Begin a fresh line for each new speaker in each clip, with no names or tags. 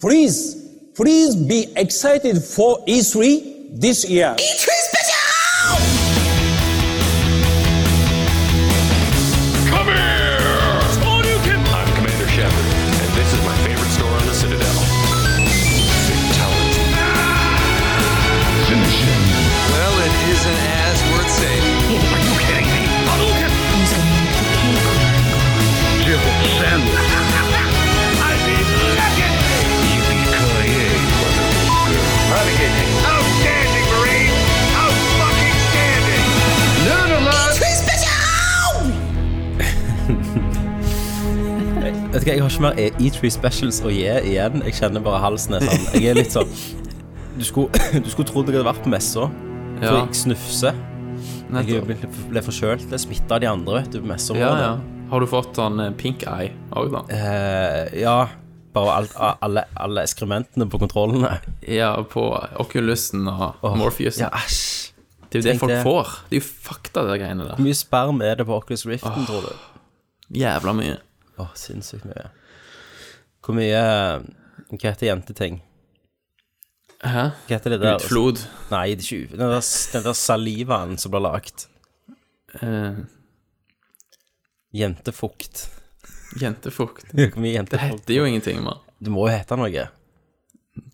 Please, please be excited for E3 this year.
E3 spesial!
Come here! I'm Commander Shepard, and this is my favorite store on the Citadel. Fatality.
Well, it isn't as worth saving.
Yippee-ki-yay, motherfucker.
Outstanding, Marine! Out fucking standing!
E3 spesial!
Vet du hva, Jeg har ikke mer E- E3 Specials å gi igjen. Jeg kjenner bare halsen er sånn. Jeg er litt sånn Du skulle, du skulle trodd jeg hadde vært på messa, for
Ja,
jeg snufser. Jeg
nettopp.
ble, ble forkjølt, ble smitta av de andre vet du, på
Ja,
messeområdet.
ja. Har du fått sånn eh, pink eye òg, da?
Eh, ja. Bare alt, alle, alle ekskrementene på kontrollene.
Ja, på Oculusen og Morpheusen.
Ja, æsj.
Det er jo det
tenk
folk
det.
får. Det er jo fakta, de greiene der.
Hvor mye sperm er det på Oculus Riften, tror du?
Jævla mye.
Åh, sinnssykt mye. Hvor mye Hva heter jenteting?
Hæ?
Hva heter det der?
Utflod.
Nei, det er ikke ut- den der, den der salivaen som blir lagd.
Eh,
Jentefukt.
jentefukt.
Hvor mye
Det
jentefukt?
heter jo ingenting, mann.
Det må jo hete noe.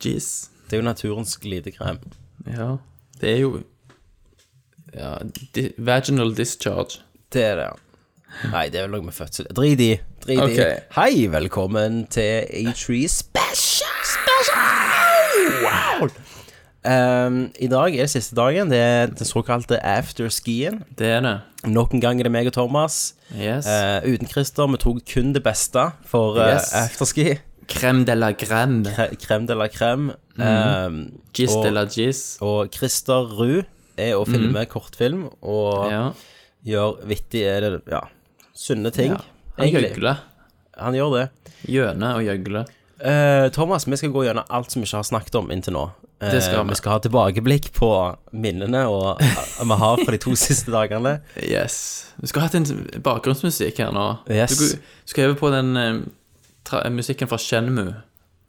Jeez.
Det er jo naturens glidekrem.
Ja. Det er jo ja, di Vaginal discharge.
Det er det, ja. Nei, det er vel noe med fødsel. Drit i. Drit i.
Ok.
Hei, velkommen til A3 Special! Wow! Um, I dag er det siste dagen. Det er den såkalte afterskien.
Det er det.
Nok en gang er det meg og Thomas.
Yes.
Eh, uten Christer. Vi tok kun det beste for eh,
Yes.
afterski.
Crème de la crème.
Kre- Krem de la crem. Um,
Jizz Mhm. de
og-
la jizz.
og Christer Ruud er å filme kortfilm og
Mhm. Ja.
gjør vittige, ja, sunne ting.
ja. Han
egentlig.
gjøgler.
Han gjør det.
Gjøne og gjøgle.
Eh, Thomas, vi skal gå gjennom alt som vi ikke har snakket om inntil nå. Eh,
Det skal vi.
vi skal ha tilbakeblikk på minnene og, vi har fra de to siste dagene.
Yes. Du skal ha hatt en bakgrunnsmusikk her nå.
Yes.
Du, du skal øve på den eh, tra musikken fra Shenmue.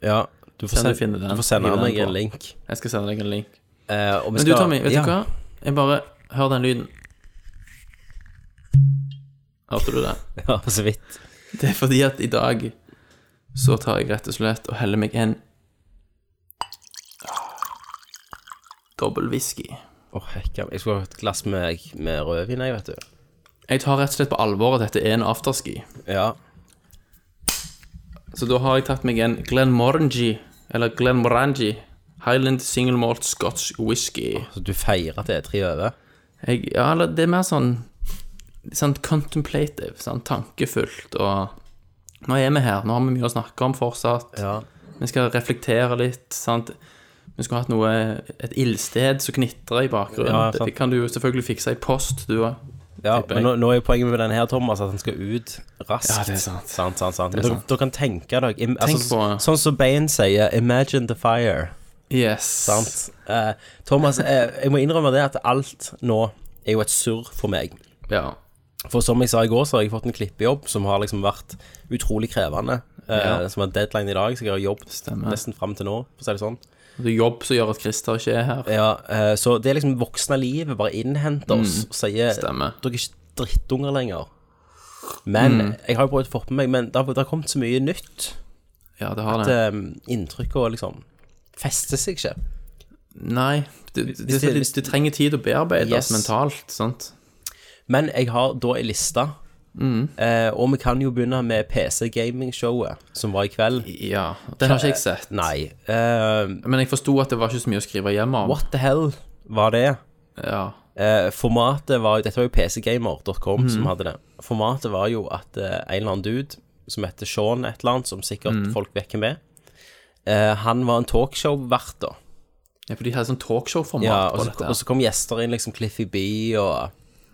Ja, du får,
Kan du
send-
finne den?
du får sende
Hiv den
meg
på.
en link.
Jeg skal sende deg en link.
Eh, og vi
Men du,
skal-
Tommy, vet
ja.
du hva? Jeg bare Hør den lyden. Hørte du det?
Ja, så vidt.
Det er fordi at i dag så tar jeg rett og slett og heller meg en Dobbel whisky.
Å, hekka. Jeg skulle ha et glass med, med rødvin, jeg, vet du.
Jeg tar rett og slett på alvor at dette er en afterski.
Ja.
Så da har jeg tatt meg en Glenmorangie, eller Glenmorangie Highland Single Malt Scotch Whisky.
Så du feirer at det er tre over?
Jeg, ja, eller det er mer sånn Sånn contemplative, sånn tankefullt og Nå er vi her, nå har vi mye å snakke om fortsatt.
Ja.
Vi skal reflektere litt, sant. Vi skulle hatt noe Et ildsted som knitrer i bakgrunnen.
Ja, sant.
det kan du jo selvfølgelig fikse i post, du òg.
Ja,
Tipper
men
jeg.
nå, nå er jo poenget med den her, Thomas, at den skal ut raskt.
Ja, det er sant.
Sant, sant, sant.
er
Dere,
sant.
dere kan tenke dere im, altså,
på-
Sånn som Bane sier, 'imagine the fire'.
Yes.
Sant? Eh, Thomas, eh, jeg må innrømme det at alt nå er jo et surr for meg.
Ja.
For som jeg sa i går, så har jeg fått en klippejobb som har liksom vært utrolig krevende. eh,
Ja.
Som har deadline i dag, så jeg har jobbet
Stemmer.
nesten fram til nå, for å si det sånn.
Det er jobb som gjør at Christer ikke er her.
Ja, eh, så det er liksom voksne livet bare innhenter oss og sier
Mm. Stemmer.
Dere er ikke drittunger lenger. Men
Mm.
jeg har jo prøvd å få på meg Men det har, det har kommet så mye nytt.
Ja, det har
At
det.
um, inntrykket liksom fester seg ikke.
Nei. Du, du,
Hvis
du,
det- hvis-
du trenger tid å bearbeide
Yes.
oss mentalt, sant.
Men jeg har da ei liste.
Mm.
Eh, og vi kan jo begynne med PC Gaming-showet som var i kveld.
Ja. Den har ikke jeg sett.
Nei. eh,
Men jeg forsto at det var ikke så mye å skrive hjem om.
what the hell var det?
Ja.
Eh, formatet var Dette var jo pcgamer.com
Mhm.
som hadde det. Formatet var jo at eh, en eller annen dude som heter Sean et eller annet, som sikkert
Mhm.
folk vet hvem er, eh, han var en talkshow-vert, da.
ja, for de hadde sånn talkshow-format
Ja, og,
på
så,
dette.
og så kom gjester inn, liksom Cliffy B og,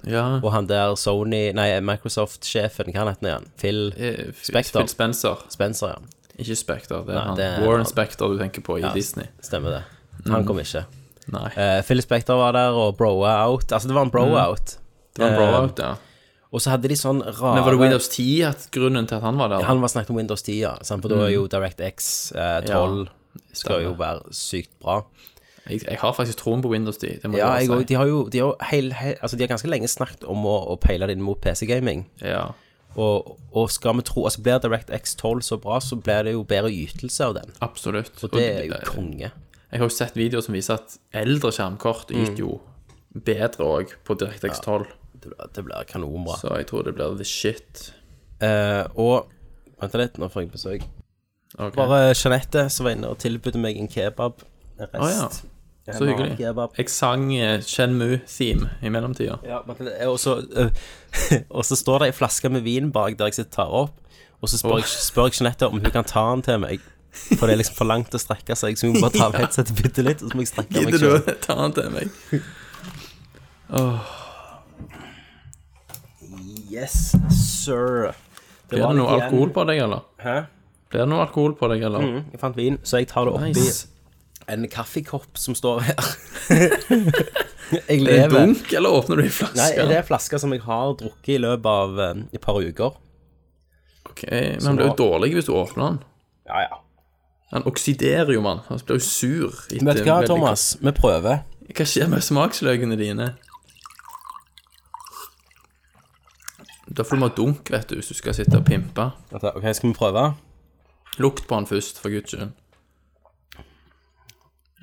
ja.
og han der Sony Nei, Microsoft-sjefen, hva het han igjen? Phil
Eh,
Spector.
Phil Spencer.
Spencer, ja.
Ikke Spector, det er han.
det er
Warren
han.
Spector du tenker på i Disney.
Stemmer det.
Mhm.
Han kom ikke.
Nei.
Eh, Phil Spector var der, og Broa Out. Altså, det var en Broa Out.
det var en
eh,
blowout, ja.
Og så hadde de sånn rare
Mhm. Men var det Windows 10 at grunnen til at han var der?
Han var snakket om Windows 10, Mm. ja. Sant? For da er jo DirectX eh, 12
Ja.
skal jo være sykt bra.
Jeg, jeg har faktisk troen på Windows 10. Det må
Ja,
jeg
jeg,
bare
og-
si.
de har jo de har, jo heil, heil, altså de har ganske lenge snakket om å, å peile det inn mot PC-gaming.
Ja.
Og, og skal vi tro Altså blir DirectX 12 så bra, så blir det jo bedre ytelse av den.
Absolutt.
Og det er jo konge.
Jeg har jo sett videoer som viser at eldre skjermkort yter jo bedre òg på DirectX 12.
Det blir, det blir kanonbra.
Så jeg tror det blir the shit.
Eh, og Vent litt, nå får jeg besøk.
Ok.
Bare Jeanette som var inne og tilbød meg en kebab. En rest.
Å ja. Så
En
hyggelig.
kebab.
Jeg sang eh, Shenmue-theme i mellomtida.
Ja, vent litt. Og så, eh, og så står det ei flaske med vin bak der jeg sitter og tar opp, og så spør, jeg, spør jeg Jeanette om hun kan ta den til meg. For det er liksom for langt å strekke seg, så hun må bare ta av headsetet bitte litt. Og så må jeg strekke meg
Gidder
selv.
du å ta den til meg?
Yes, sir.
Blir det noe alkohol på deg, eller?
Hæ?
Blir det noe alkohol på deg, eller?
Mm, jeg fant vin, så jeg tar det oppi
Nice.
en kaffekopp som står her. jeg
Er det en
lever.
dunk, eller åpner du ei flaske?
Nei, det er flasker som jeg har drukket i løpet av eh, et par uker.
Ok, Men den blir jo dårlig hvis du åpner den.
Ja, ja.
Den oksiderer jo, mann. Den blir jo sur. etter
Vet du hva,
veldig kort-
Thomas? Vi prøver.
Hva skjer med smaksløkene dine? Da får du ha dunk, vet du, hvis du skal sitte og pimpe.
Vent da, Ok, skal vi prøve?
Lukt på den først, for guds skyld.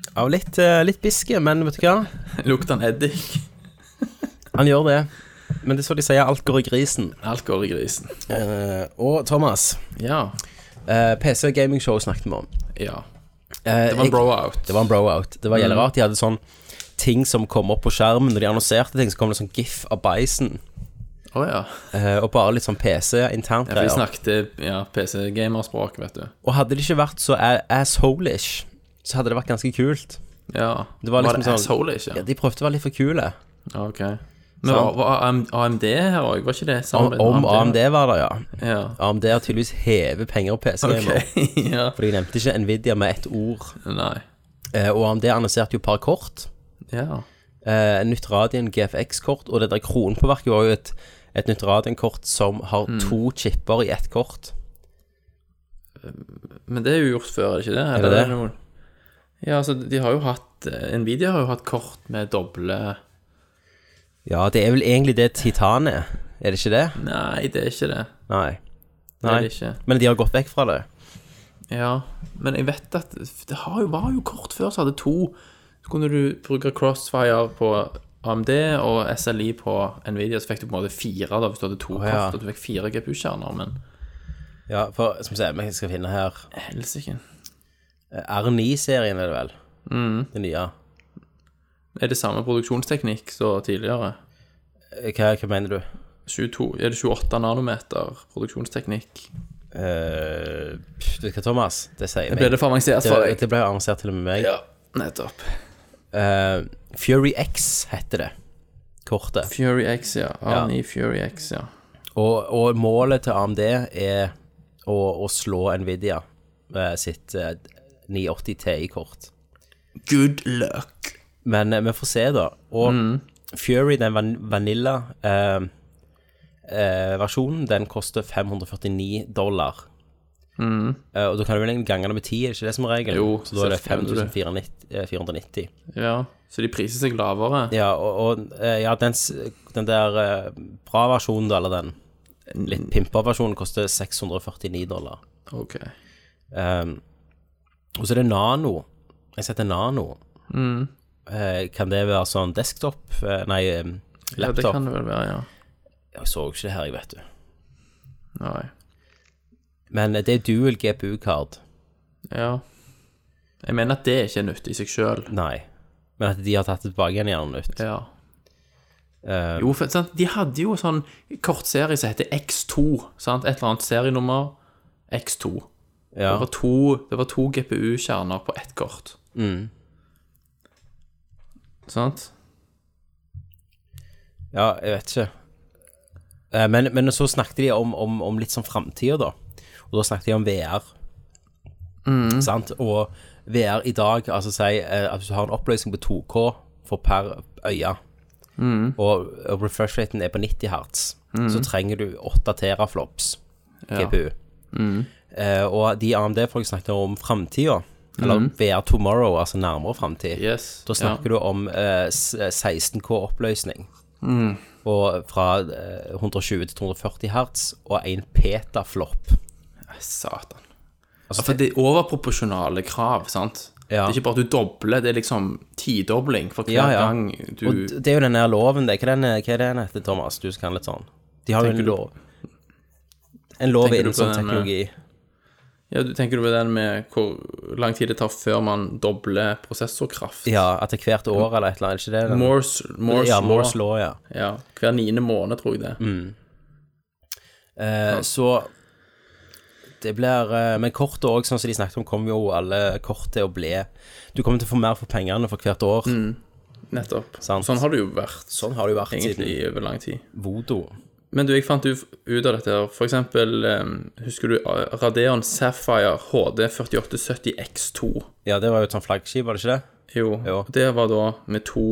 Ja, litt, eh, litt biske, men vet du hva?
Lukt den eddik.
Han gjør det. Men det er så de sier, alt går i grisen.
Alt går i grisen.
Eh, og Thomas,
Ja.
eh, PC og gamingshow snakket vi om.
Ja.
Eh,
Det var en
jeg-
bro-out.
Det var en bro-out. Det var jævlig rart. De hadde sånn ting som kom opp på skjermen. Når de annonserte ting, så kom det sånn gif av Bison.
Å ja.
eh, og bare litt sånn PC-internt
Vi
greier.
snakket ja, PC-gamerspråk, vet du.
og hadde det ikke vært så a- assholish, så hadde det vært ganske kult.
Ja.
Det var liksom
det
sånn-
asshole-ish,
Ja,
ja?
de prøvde å være litt for kule.
Ja, ok. Men var, var AM- AMD her òg? Var ikke det
Om,
samarbeid
om
med
AMD var det, ja.
Ja.
AMD har tydeligvis hevet penger på
Ok.
PC-gamer.
ja.
For de nevnte ikke Nvidia med ett ord.
Nei.
Eh, og AMD annonserte jo et par kort.
Ja.
eh, nytt Radian GFX-kort, og det der kronpåverket var jo et, et nytt Radian-kort som har
Mm.
to chipper i ett kort.
Men det er jo gjort før, er det ikke det? Eller
det?
er noe- Ja, altså, de har jo hatt eh, Nvidia har jo hatt kort med doble
Ja, det er vel egentlig det Titan er, er det ikke det?
Nei, det er ikke det.
Nei.
Det
Nei.
er det ikke.
Men de har gått vekk fra det.
Ja, men jeg vet at det har jo, var jo kort før så hadde to. Så kunne du bruke Crossfire på AMD og SLI på Nvidia, så fikk du på en måte fire da, hvis du hadde to kort,
ja.
og du fikk fire GPU-kjerner, men
Ja, for som sagt, jeg skal finne her
helsike.
eh, R9-serien er det vel?
Mm.
Det nye.
Er det samme produksjonsteknikk som tidligere?
Eh, Hva, hva mener du?
22, er det 28 nanometer produksjonsteknikk?
Eh, pff, vet du hva, Thomas? Det sier
Ble det for avansert for
det,
deg?
det ble arrangert til og med meg.
Ja, nettopp.
Eh, Fury X heter det kortet.
Fury X, ja. Arni Fury X, ja.
Og, og målet til AMD er å, å slå Nvidia eh, sitt eh, 980 Ti-kort.
Good luck.
Men eh, vi får se, da. Og Fury, den van vanilla-versjonen, eh, versjonen, den koster 549 dollar. Eh, og da kan du vel egentlig gange det med 10, er det ikke det som er regelen?
Jo,
så da er det
cirka
eh, 5490.
Ja, så de priser seg lavere.
Ja, og, og eh, ja, den, s- den der eh, bra versjonen, da, eller den
Mm.
litt pimpa-versjonen, koster 649 dollar.
Ok.
Um, og så er det Nano. Jeg setter Nano.
Mm.
Eh, kan det være sånn desktop? Eh, nei, um,
Ja, det
laptop.
kan det vel være, ja.
Jeg så ikke det her, jeg vet du.
Nei.
Men det er dual GPU-card.
Ja. Jeg mener at det ikke er nytt i seg sjøl.
Nei. Men at de har tatt det tilbake igjen gjerne ut.
Ja.
Eh,
Jo, for sant? de hadde jo sånn kortserie som heter X2, sant? Et eller annet serienummer. X2.
ja.
Det var to, det var to GPU-kjerner på ett kort.
Mm.
Sant?
ja, jeg vet ikke. Eh, men, men så snakket de om, om, om litt sånn framtida, da. Og da snakket de om VR. Sant? Og VR i dag, altså si eh, at du har en oppløsning på 2K for per øye, og, og refresh-raten er på 90 hertz, så trenger du 8 teraflops GPU. Eh, og de AMD-folk snakket om framtida, Eller VR Tomorrow, altså nærmere framtid.
Yes,
Da snakker du om eh, s- 16K oppløsning. Og fra eh, 120 til 240 hertz, og en petaflop.
Satan. Altså, for det er overproporsjonale krav, sant? Det er ikke bare at du dobler, det er liksom tidobling for hver
Ja, ja.
gang du
Og d- det er jo den her loven det. Hva er den, eh, hva er den heter, Thomas? Du som kan litt sånn. De har jo en
Tenker du-
lov. En lov
Tenker du
innen
på
sånn
den, eh,
teknologi.
Ja, du tenker du på den med hvor lang tid det tar før man dobler prosessorkraft?
Ja, etter hvert år eller et eller annet. Er ikke det? den-
Morse, Morse,
ja,
law.
Moore's law, Mm. ja.
Ja, hver niende måned, tror jeg det.
Eh, Så det blir eh, Men kortet òg, sånn som de snakket om, kommer jo alle kort til å bli Du kommer til å få mer for pengene for hvert år.
Mm. Nettopp.
Sant.
Sånn har det jo vært
Sånn har det jo vært
egentlig
siden
i over lang tid.
Vodo.
Men du, jeg fant ut ut av dette her. For eksempel, eh, husker du eh, Radeon Sapphire HD 4870X2?
Ja, det var jo et sånt flaggskip, var det ikke det?
Jo,
Jo.
og det var da med to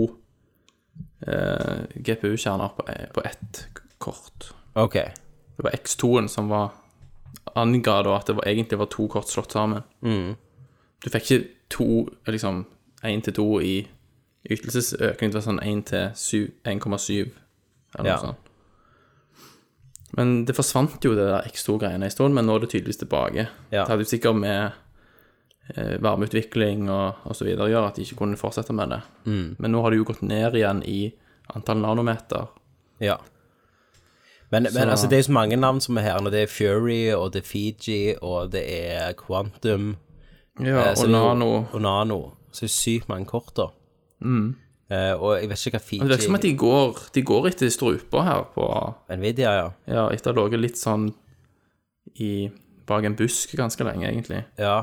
eh, GPU-kjerner på, eh, på ett kort.
Ok.
Det var X2-en som var anga da at det var, egentlig var to kort slått sammen.
Mm.
Du fikk ikke to, liksom, én til to i ytelsesøkning. Det var sånn én til syv- 1,7 eller
Ja.
noe sånt. Men det forsvant jo det der X2-greiene en stund, men nå er det tydeligvis tilbake.
Ja.
Det hadde jo sikkert med eh, varmeutvikling og, og så videre å gjøre at de ikke kunne fortsette med det.
Mm.
Men nå har det jo gått ned igjen i antall nanometer.
Ja. Men, men altså, det er jo så mange navn som er her nå. Det er Fury, og det er Fiji, og det er Quantum.
Ja,
eh,
og
så det er jo-
nano
Og Nano. Så det er sykt mange kort, da. Eh, og jeg vet ikke hva
Mm. Men Det virker som at
Fiji
de går, de går etter strupa her på
Nvidia, ja.
Ja, etter å ha ligget litt sånn i bak en busk ganske lenge, egentlig.
ja.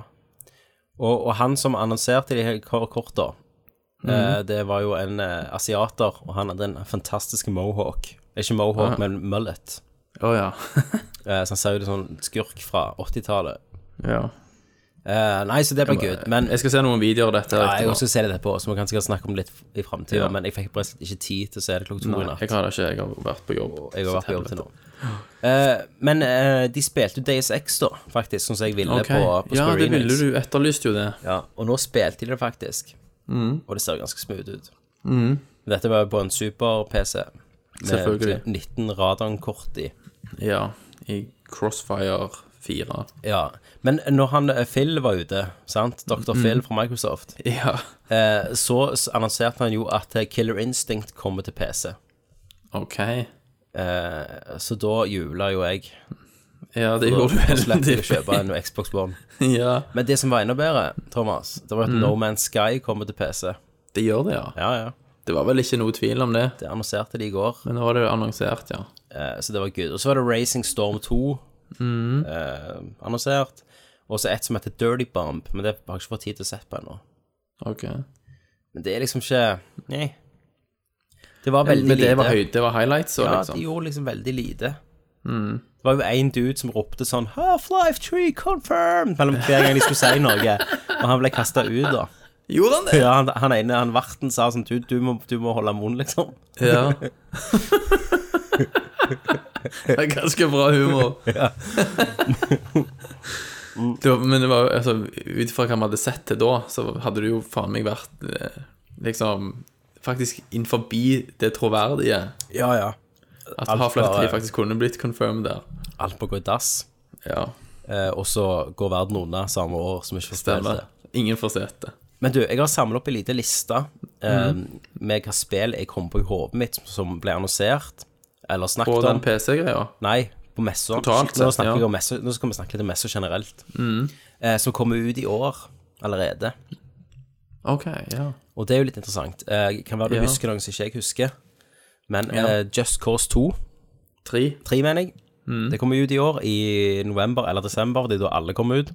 Og, og han som annonserte de her kor- korta,
Mhm.
eh, det var jo en eh, asiater, og han hadde en fantastisk mohawk. Ikke mohawk, men mullet.
Å ja.
Eh, så han ser jo ut som en skurk fra 80-tallet.
ja.
Eh, nei, så det ble good. Men
Jeg skal se noen videoer av dette.
Ja, jeg
etterpå.
også skal se det etterpå, så vi kan sikkert snakke om det litt i framtida.
Ja.
Men jeg fikk bare ikke tid til å se det klokka to i
Nei,
natt.
jeg har det ikke. Jeg har vært på jobb.
Jeg har vært på jobb til nå. Eh, men eh, de spilte jo Days X, da, faktisk, sånn som jeg ville
Ok.
på, på
ja,
Square
det ville
Enix.
du. Etterlyste jo det.
Ja, og nå spilte de det faktisk.
Mm.
Og det ser ganske smooth ut. Men Dette var jo på en super-PC
Selvfølgelig.
med 19 radionkort i.
Ja. I Crossfire 4.
Ja. Men når han eh, Phil var ute, sant, Dr.
Mm.
Phil fra Microsoft,
Ja.
eh, så s- annonserte han jo at eh, Killer Instinct kommer til PC.
OK.
Eh, så da jubla jo jeg.
Ja, det
Da
gjorde du
slapp jeg å
heldigvis.
kjøpe en Xbox One.
Ja.
Men det som var enda bedre, Thomas, det var at
Mm.
No Man's Sky kommer til PC.
Det gjør det, ja.
Ja, ja.
Det var vel ikke noe tvil om det.
Det annonserte de i går,
Men nå var det jo annonsert, ja.
eh, så det var good. Og så var det Racing Storm 2
Mm.
eh, annonsert. Og så et som heter Dirty Bomb, men det har jeg ikke fått tid til å sette på ennå.
OK.
Men det er liksom ikke Nei. Det var veldig
Men det
lite.
var, høy, det var highlights og
Ja, de
liksom.
gjorde liksom veldig lite. Det var jo én dude som ropte sånn 'Half-Life 3 confirmed!' mellom hver gang de skulle si noe. Og han ble kasta ut, da.
Gjorde han
Ja, han, han ene han verten sa sånn 'Du, du, må, du må holde munn', liksom.
Ja. det er ganske bra humor. det var, men det var jo, altså, ut fra hva vi hadde sett til da, så hadde det jo faen meg vært eh, liksom faktisk innenfor det troverdige.
Ja, ja.
At
Alt
Half-Life 3
bare-
faktisk kunne blitt confirmed der.
Alt på å gå i dass.
Ja,
Eh, og så går verden unna samme år som ikke får spilt det.
stemmer. Ingen får sett det.
Men du, jeg har samla opp ei lita liste eh, med hva spill jeg kom på i hodet mitt som- som ble annonsert, eller snakket
Og
om.
den PC-greia.
Nei, på messer.
Totalt
nå,
sett,
snakker
ja. Mm.
jeg om messer nå skal vi snakke litt om messer generelt. Eh, som kommer ut i år allerede.
Ok, ja.
Og det er jo litt interessant. Eh, kan være du
Ja.
husker noe som ikke jeg husker. Men
Ja.
eh, Just Cause 2,
Tre.
3 mener jeg,
Mm.
det kommer ut i år. I november eller desember, det er da alle kommer ut.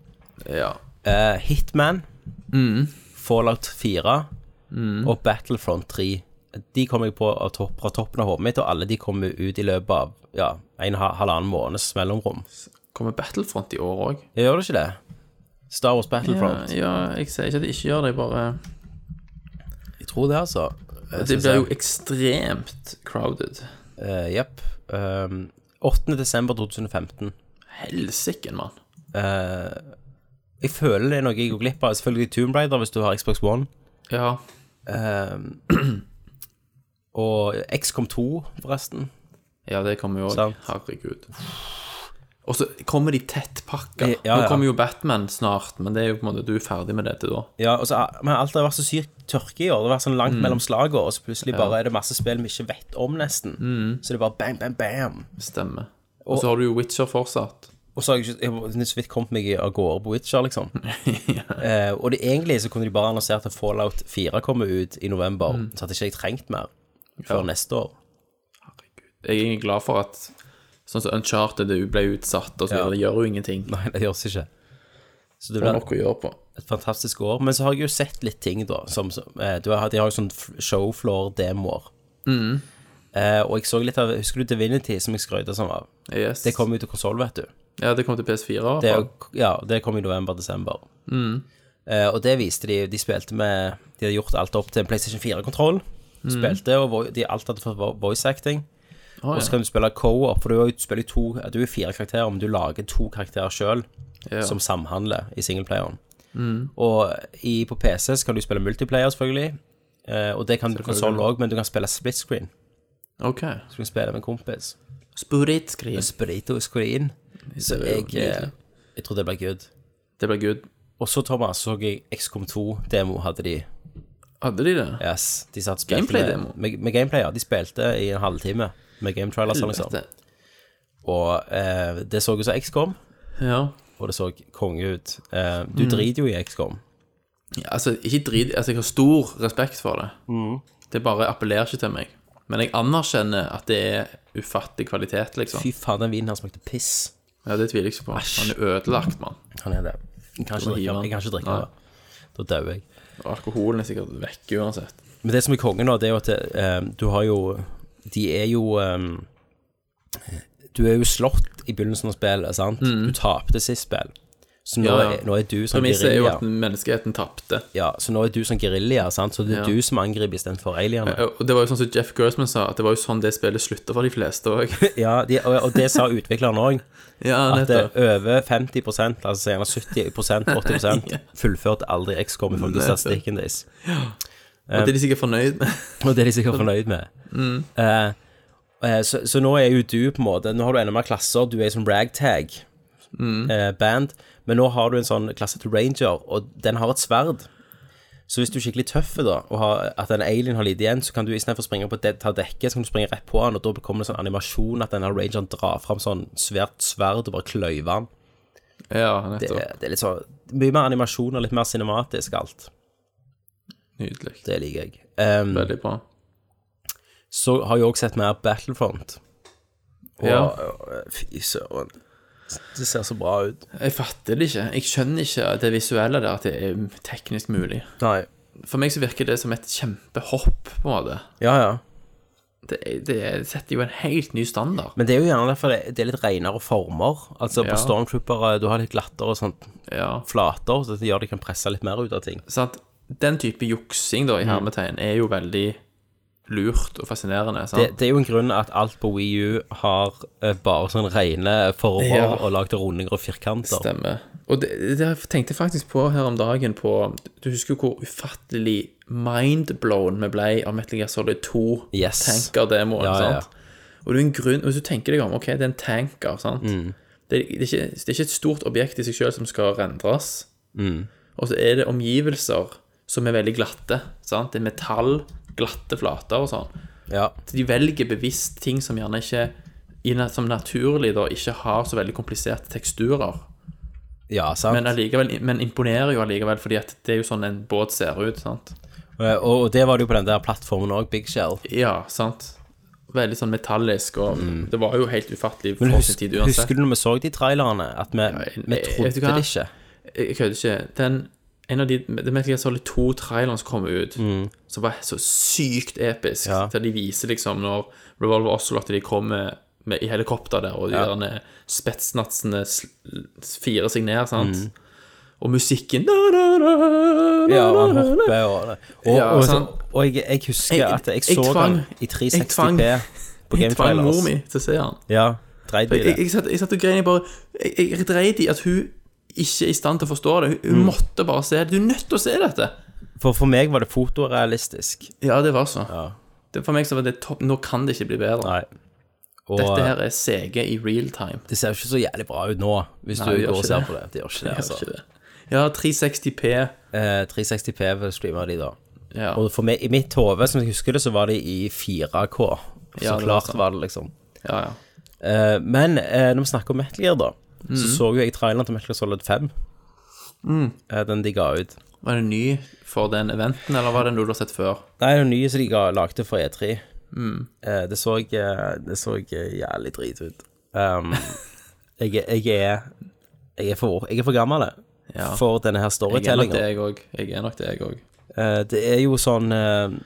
Ja.
Eh, Hitman,
Mm.
Fallout 4 og Battlefront 3. De kom jeg på av topp, fra toppen av hodet mitt, og alle de kommer ut i løpet av ja, en ha- halvannen måneds mellomrom.
Kommer Battlefront i år òg?
Jeg gjør det ikke det? Star Wars
Ja,
Battlefront.
ja, jeg sier ikke at de ikke gjør det, jeg bare
Jeg tror det, altså.
Det blir jo ekstremt crowded.
Jepp. Ehm, Um, 8. desember 2015.
Helsike, mann.
Eh, Jeg føler det er noe jeg går glipp av. Selvfølgelig Tomb Raider hvis du har Xbox One.
Ja.
Ehm, og XCOM 2, forresten.
ja, det kommer jo òg.
Sant.
Herregud. Og så kommer de tettpakka.
Ja, ja.
Nå kommer jo Batman snart, men det er jo på en måte du er ferdig med dette da.
Ja, og så, men alt har vært så sykt tørke i år. Det har vært sånn
Mm.
langt mellom slagene, og så plutselig bare er det masse spill vi ikke vet om, nesten.
Mm.
Så det er bare bam, bam, bam.
Stemmer. Og så har du jo Witcher fortsatt.
Og så har jeg ikke jeg har så vidt kommet meg av gårde på Witcher, liksom. eh, og det egentlig så kunne de bare annonsert at Fallout 4 kommer ut i november,
Mm.
så hadde ikke jeg trengt mer før neste år.
Jeg er egentlig glad for at sånn som Uncharted det ble utsatt, og så videre. Det gjør jo ingenting.
Nei, det gjøres ikke. Så
Det
det
er
blir
nok å gjøre på.
et fantastisk år. Men så har jeg jo sett litt ting, da. Som, som, eh, du har, de har jo sånn f- showfloor-demoer.
Mm.
Eh, og jeg så litt av Husker du Divinity, som jeg skrøt av som av?
Yes.
Det kom jo til konsoll, vet du.
Ja, det kom til PS4. i hvert
Det, er
fall.
jo- ja, det kom i november-desember.
Mm.
Eh, og det viste de. De spilte med De hadde gjort alt opp til en PlayStation 4-kontroll. Spilte, og vo- de alt hadde fått vo- voice acting.
Mm. Å,
Og så
ja.
kan du spille co-op, for du, er jo- spiller jo to, du er fire karakterer, men du lager to karakterer sjøl
Ja. Mm.
som samhandler i singleplayeren. Og i, på PC så kan du spille multiplayer, selvfølgelig. Eh, og det kan du på konsoll òg, men du kan spille split screen.
OK.
Så du kan spille med en kompis.
Spuritskrin.
Sprito screen. Så
Det er jo
jeg, eh,
nydelig.
jeg tror det blir good.
Det ble good.
Og så, Thomas, så jeg XCOM 2-demo hadde de.
Hadde de det?
Yes, de satt og spilte
Gameplay-demo?
Med, med, med gameplay, ja. De spilte i en halvtime med game trailers. Liksom.
Helvete.
Og eh, det så ut som XCOM,
Ja.
og det så konge ut. Eh, du
Mm.
driter jo i XCOM.
Ja, Altså, ikke drit Altså, jeg har stor respekt for det.
Mm.
Det bare appellerer ikke til meg. Men jeg anerkjenner at det er ufattig kvalitet, liksom.
Fy faen, den vinen her smakte piss.
Ja, det tviler jeg ikke på. Han er ødelagt, mann.
Han er det. Jeg kan ikke
må hive
drikke,
den.
jeg kan ikke drikke
Nei.
det. Da dauer jeg.
Og alkoholen er sikkert vekke uansett.
Men det som er konge nå, det er jo at eh, du har jo De er jo eh, Du er jo slått i begynnelsen av spillet, sant? Du tapte sist spill. Så nå,
Mm. Ja, ja.
Er, nå er du som
Premisset er jo
gerilja.
at menneskeheten tapte.
Ja, så nå er du som gerilja, sant? Så det er
Ja.
du som angriper istedenfor alienene.
Og det var jo sånn som Jeff Gersman sa, at det var jo sånn det spillet slutta for de fleste òg.
Ja, de, og, og det sa utvikleren òg.
ja,
At det
nettopp.
er over 50 altså gjerne 70 80 fullførte aldri XCOM ifølge statistikken deres.
Og
eh,
det er de sikkert fornøyd med.
Og det er de sikkert fornøyd med. Eh, eh, så, så nå er jo du på en måte Nå har du enda mer klasser. Du er som ragtag eh, band. Men nå har du en sånn klasse til ranger, og den har et sverd. Så hvis du er skikkelig tøff da, og har, at en alien har lite igjen, så kan du istedenfor å springe på det, ta dekket, så kan du springe rett på han, og da kommer det en sånn animasjon at denne rangeren drar fram sånn svært sverd og bare kløyver han.
Ja,
Det,
nettopp.
det er litt sånn Mye mer animasjon og litt mer cinematisk alt.
Nydelig.
Det liker jeg. Um,
Veldig bra.
så har jeg òg sett mer Battlefront. Og,
Ja.
Fy søren. Det ser så bra ut.
Jeg fatter det ikke. Jeg skjønner ikke det visuelle der, at det er teknisk mulig.
Nei.
For meg så virker det som et kjempehopp, på en måte.
Ja, ja.
Det, det setter jo en helt ny standard.
Men det er jo gjerne derfor det, det er litt renere former. Altså
Ja.
På Stormtrooper du har litt glattere og sånt
Ja,
flater, så det gjør de kan presse litt mer ut av ting.
sant? Den type juksing, da, i hermetegn, er jo veldig lurt og fascinerende.
Det,
sant?
det er jo en grunn at alt på Wii U har eh, bare sånn rene former
Ja.
og lagd rundinger og firkanter.
Stemmer. Og det, det tenkte jeg faktisk på her om dagen på Du husker jo hvor ufattelig mindblown vi ble av Metal Gear Solid 2
Yes.
tanker-demoen.
Ja, ja, ja.
sant? Og det er en grunn, hvis du tenker deg om, ok, det er en tanker, sant?
Mm.
Det, er, det, er ikke, det er ikke et stort objekt i seg selv som skal rendres.
Mm.
Og så er det omgivelser som er veldig glatte, sant? Det er metall, glatte flater og sånn.
Ja.
Så de velger bevisst ting som gjerne ikke, i na- som naturlig da, ikke har så veldig kompliserte teksturer.
ja, sant.
Men, eh, allikevel, men imponerer jo allikevel, fordi at det er jo sånn en båt ser ut, sant?
Eh, og, og det var det jo på den der plattformen òg, Big Shell.
Ja, sant? Veldig sånn metallisk, og det var jo helt ufattelig
Mm. Men
for sin
husk,
tid
husker
uansett.
du når vi så de trailerne, at vi,
jeg-
vi
jeg-
trodde
vet du hva?
det ikke?
Jeg kødder ikke. Den, en av de, det merker jeg så litt to trailerne som kom ut, som var så sykt episk,
Mm. Ja.
der de viser liksom når Revolver Ocelot de kommer med, i helikopter der, og de
Ja.
der spetsnatsene sl- firer seg ned, sant? Og musikken da-da-da-da-da-da.
Mm. Ja, og han hopper og det. Og,
Ja,
og,
sant.
og jeg, jeg husker
Jeg-
at jeg
jeg
så
tvang-
han i
jeg tvang-
360P på altså. Game
Jeg tvang mor
Trailers.
mi til å se han.
Ja, dreit i
Jeg,
det.
jeg, jeg, satt, jeg satt og grein, jeg bare Jeg, jeg dreit i at hun ikke i stand til å forstå det. Hun
Mm.
måtte bare se det. Du er nødt til å se dette!
For for meg var det fotorealistisk.
Ja, det var så. Det, for meg så var det topp. Nå kan det ikke bli bedre.
Nei. Og
Dette her er CG i real time.
det ser jo ikke så jævlig bra ut nå, hvis
det
du
gjør
går og
ikke
ser
det.
på det. Det gjør ikke det, altså.
Ikke det. Ja, 360P.
Eh, 360P vil streame de, da.
Ja.
Og for meg, i mitt hode, som jeg husker det, så var de i 4K. Så
Ja, det var
klart
sånn.
var det, liksom.
ja, ja.
Eh, men eh, når vi snakker om Metal Gear, da,
Mm.
så så jo jeg traileren til Metal Gear Solid 5. Eh, den de ga ut.
Var det ny for den eventen, eller var det noe du har sett før?
Nei, den nye som de ga, lagde for E3.
Mm.
Eh, det så, eh, det så eh, jævlig drit ut. Um, jeg, er- jeg, er, jeg, er for, jeg er for gammel
Ja.
for denne her
Jeg er nok
storytellinga.
det, jeg òg. Jeg er nok det, jeg òg.
Eh, det er jo sånn eh,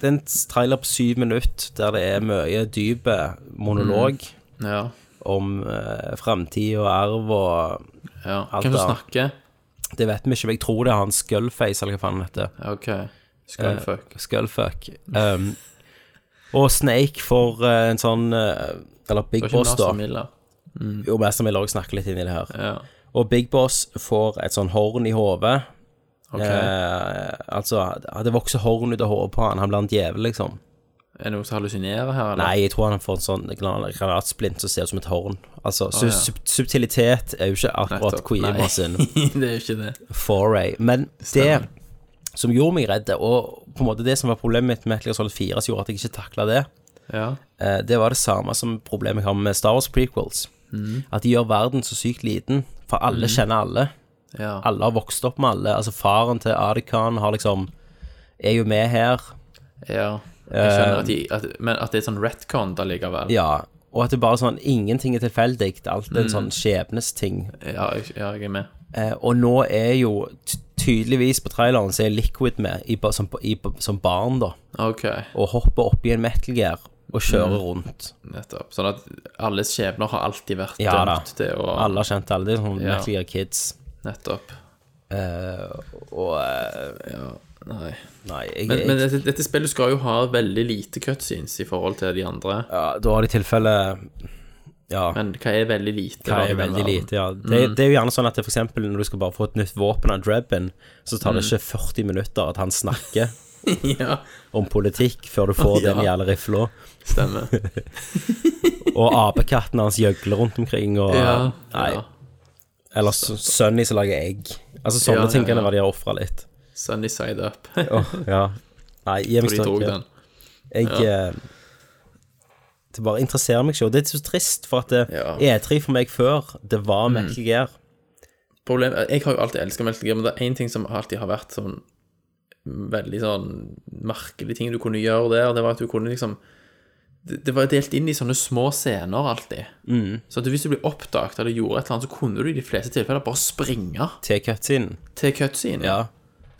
Det er en trailer på syv minutter der det er mye dyp eh, monolog
Ja.
om eh, framtid og arv og
ja.
Alt
Hvem som
da.
snakker?
Det vet vi ikke, men jeg tror det er han Skullface, eller hva faen han heter.
Ja, OK. Skullfuck.
Eh, Skullfuck. Um, og Snake får eh, en sånn eh, Eller Big
Det var ikke
Boss, da.
Master Miller.
Jo, Mester vil også snakke litt inn i det her.
Ja.
Og Big Boss får et sånn horn i hodet.
OK.
Eh, altså, ja, det vokser horn ut av hodet på han. Han blir en djevel, liksom.
er det noen som hallusinerer her, eller?
Nei, jeg tror han får en sånn gran- granatsplint som ser ut som et horn. Altså,
ja.
sub sub subtilitet er jo ikke akkurat
Nettopp.
Quima
Nei.
sin.
det er jo ikke det.
foray. Men det som gjorde meg redd, og på en måte det som var problemet mitt med Metal Gear Solid 4, som gjorde at jeg ikke takla det,
Ja.
eh, det var det samme som problemet jeg har med Star Wars prequels.
Mm.
At de gjør verden så sykt liten, for alle kjenner alle.
ja.
Alle har vokst opp med alle. Altså Faren til Adikan har liksom er jo med her.
ja. Jeg skjønner at de at, Men at det er sånn retcon allikevel.
Eh, Ja. Og at det bare er sånn ingenting er tilfeldig. Alt
Mm.
er en sånn skjebnesting.
Ja, jeg, ja, jeg er med.
Eh, og nå er jo ty- tydeligvis på traileren så er Liquid med i, ba- som, i, som barn, da.
OK,
og hopper opp i en metal gear og
Mm.
kjører rundt.
nettopp. Sånn at alles skjebner har alltid vært
Ja, da.
dømt til å
Alle har kjent alle de sånne
Ja.
metal gear kids.
Nettopp.
Eh, og eh,
Nei.
Nei, jeg,
Men, men
jeg,
dette, dette spillet skal jo ha veldig lite cutscenes i forhold til de andre.
ja, da har de tilfelle Ja,
Men hva er veldig lite? da,
hva
i
er
den
veldig
verden?
lite, ja. Det, det er jo gjerne sånn at det for eksempel når du skal bare få et nytt våpen av Drebin, så tar det
Mm.
ikke 40 minutter at han snakker
ja,
om politikk før du får den
Ja.
jævla rifla.
stemmer.
Og apekatten hans gjøgler rundt omkring, og
Ja,
Nei.
ja.
Eller s- Sunny som lager egg. Altså
Ja, ja,
sånne ting kan
ja.
det være de har ofra litt.
Sunny side up.
Åh, ja. Nei, gi meg
De drog
støtte.
den.
Jeg eh, Det bare interesserer meg ikke. Og det er så trist, for at det,
Ja.
E3 for meg før, det var Metal Gear.
Problem, jeg har jo alltid elska Metal Gear, men det er én ting som alltid har vært sånn veldig sånn merkelig ting du kunne gjøre der, det var at du kunne liksom Det, det var delt inn i sånne små scener alltid. Så at hvis du ble oppdaget eller gjorde et eller annet, så kunne du i de fleste tilfeller bare springe
Til cutscenen.
til cutscene.
Ja.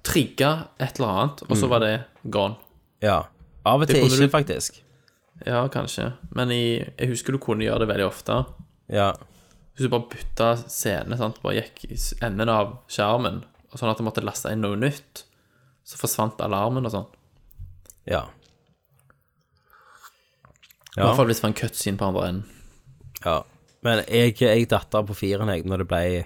Trigge et eller annet, og så var det gone.
ja. Av og til
kunne
ikke,
du-
faktisk.
Ja, kanskje. Men i, jeg husker du kunne gjøre det veldig ofte.
Ja.
Hvis du bare bytta scene, sant? bare gikk i s- enden av skjermen, og sånn at du måtte laste inn noe nytt, så forsvant alarmen og sånn.
Ja.
I hvert fall hvis det var en cutscene på andre enden.
ja. Men jeg, jeg datt av på firen, jeg, når det ble eh,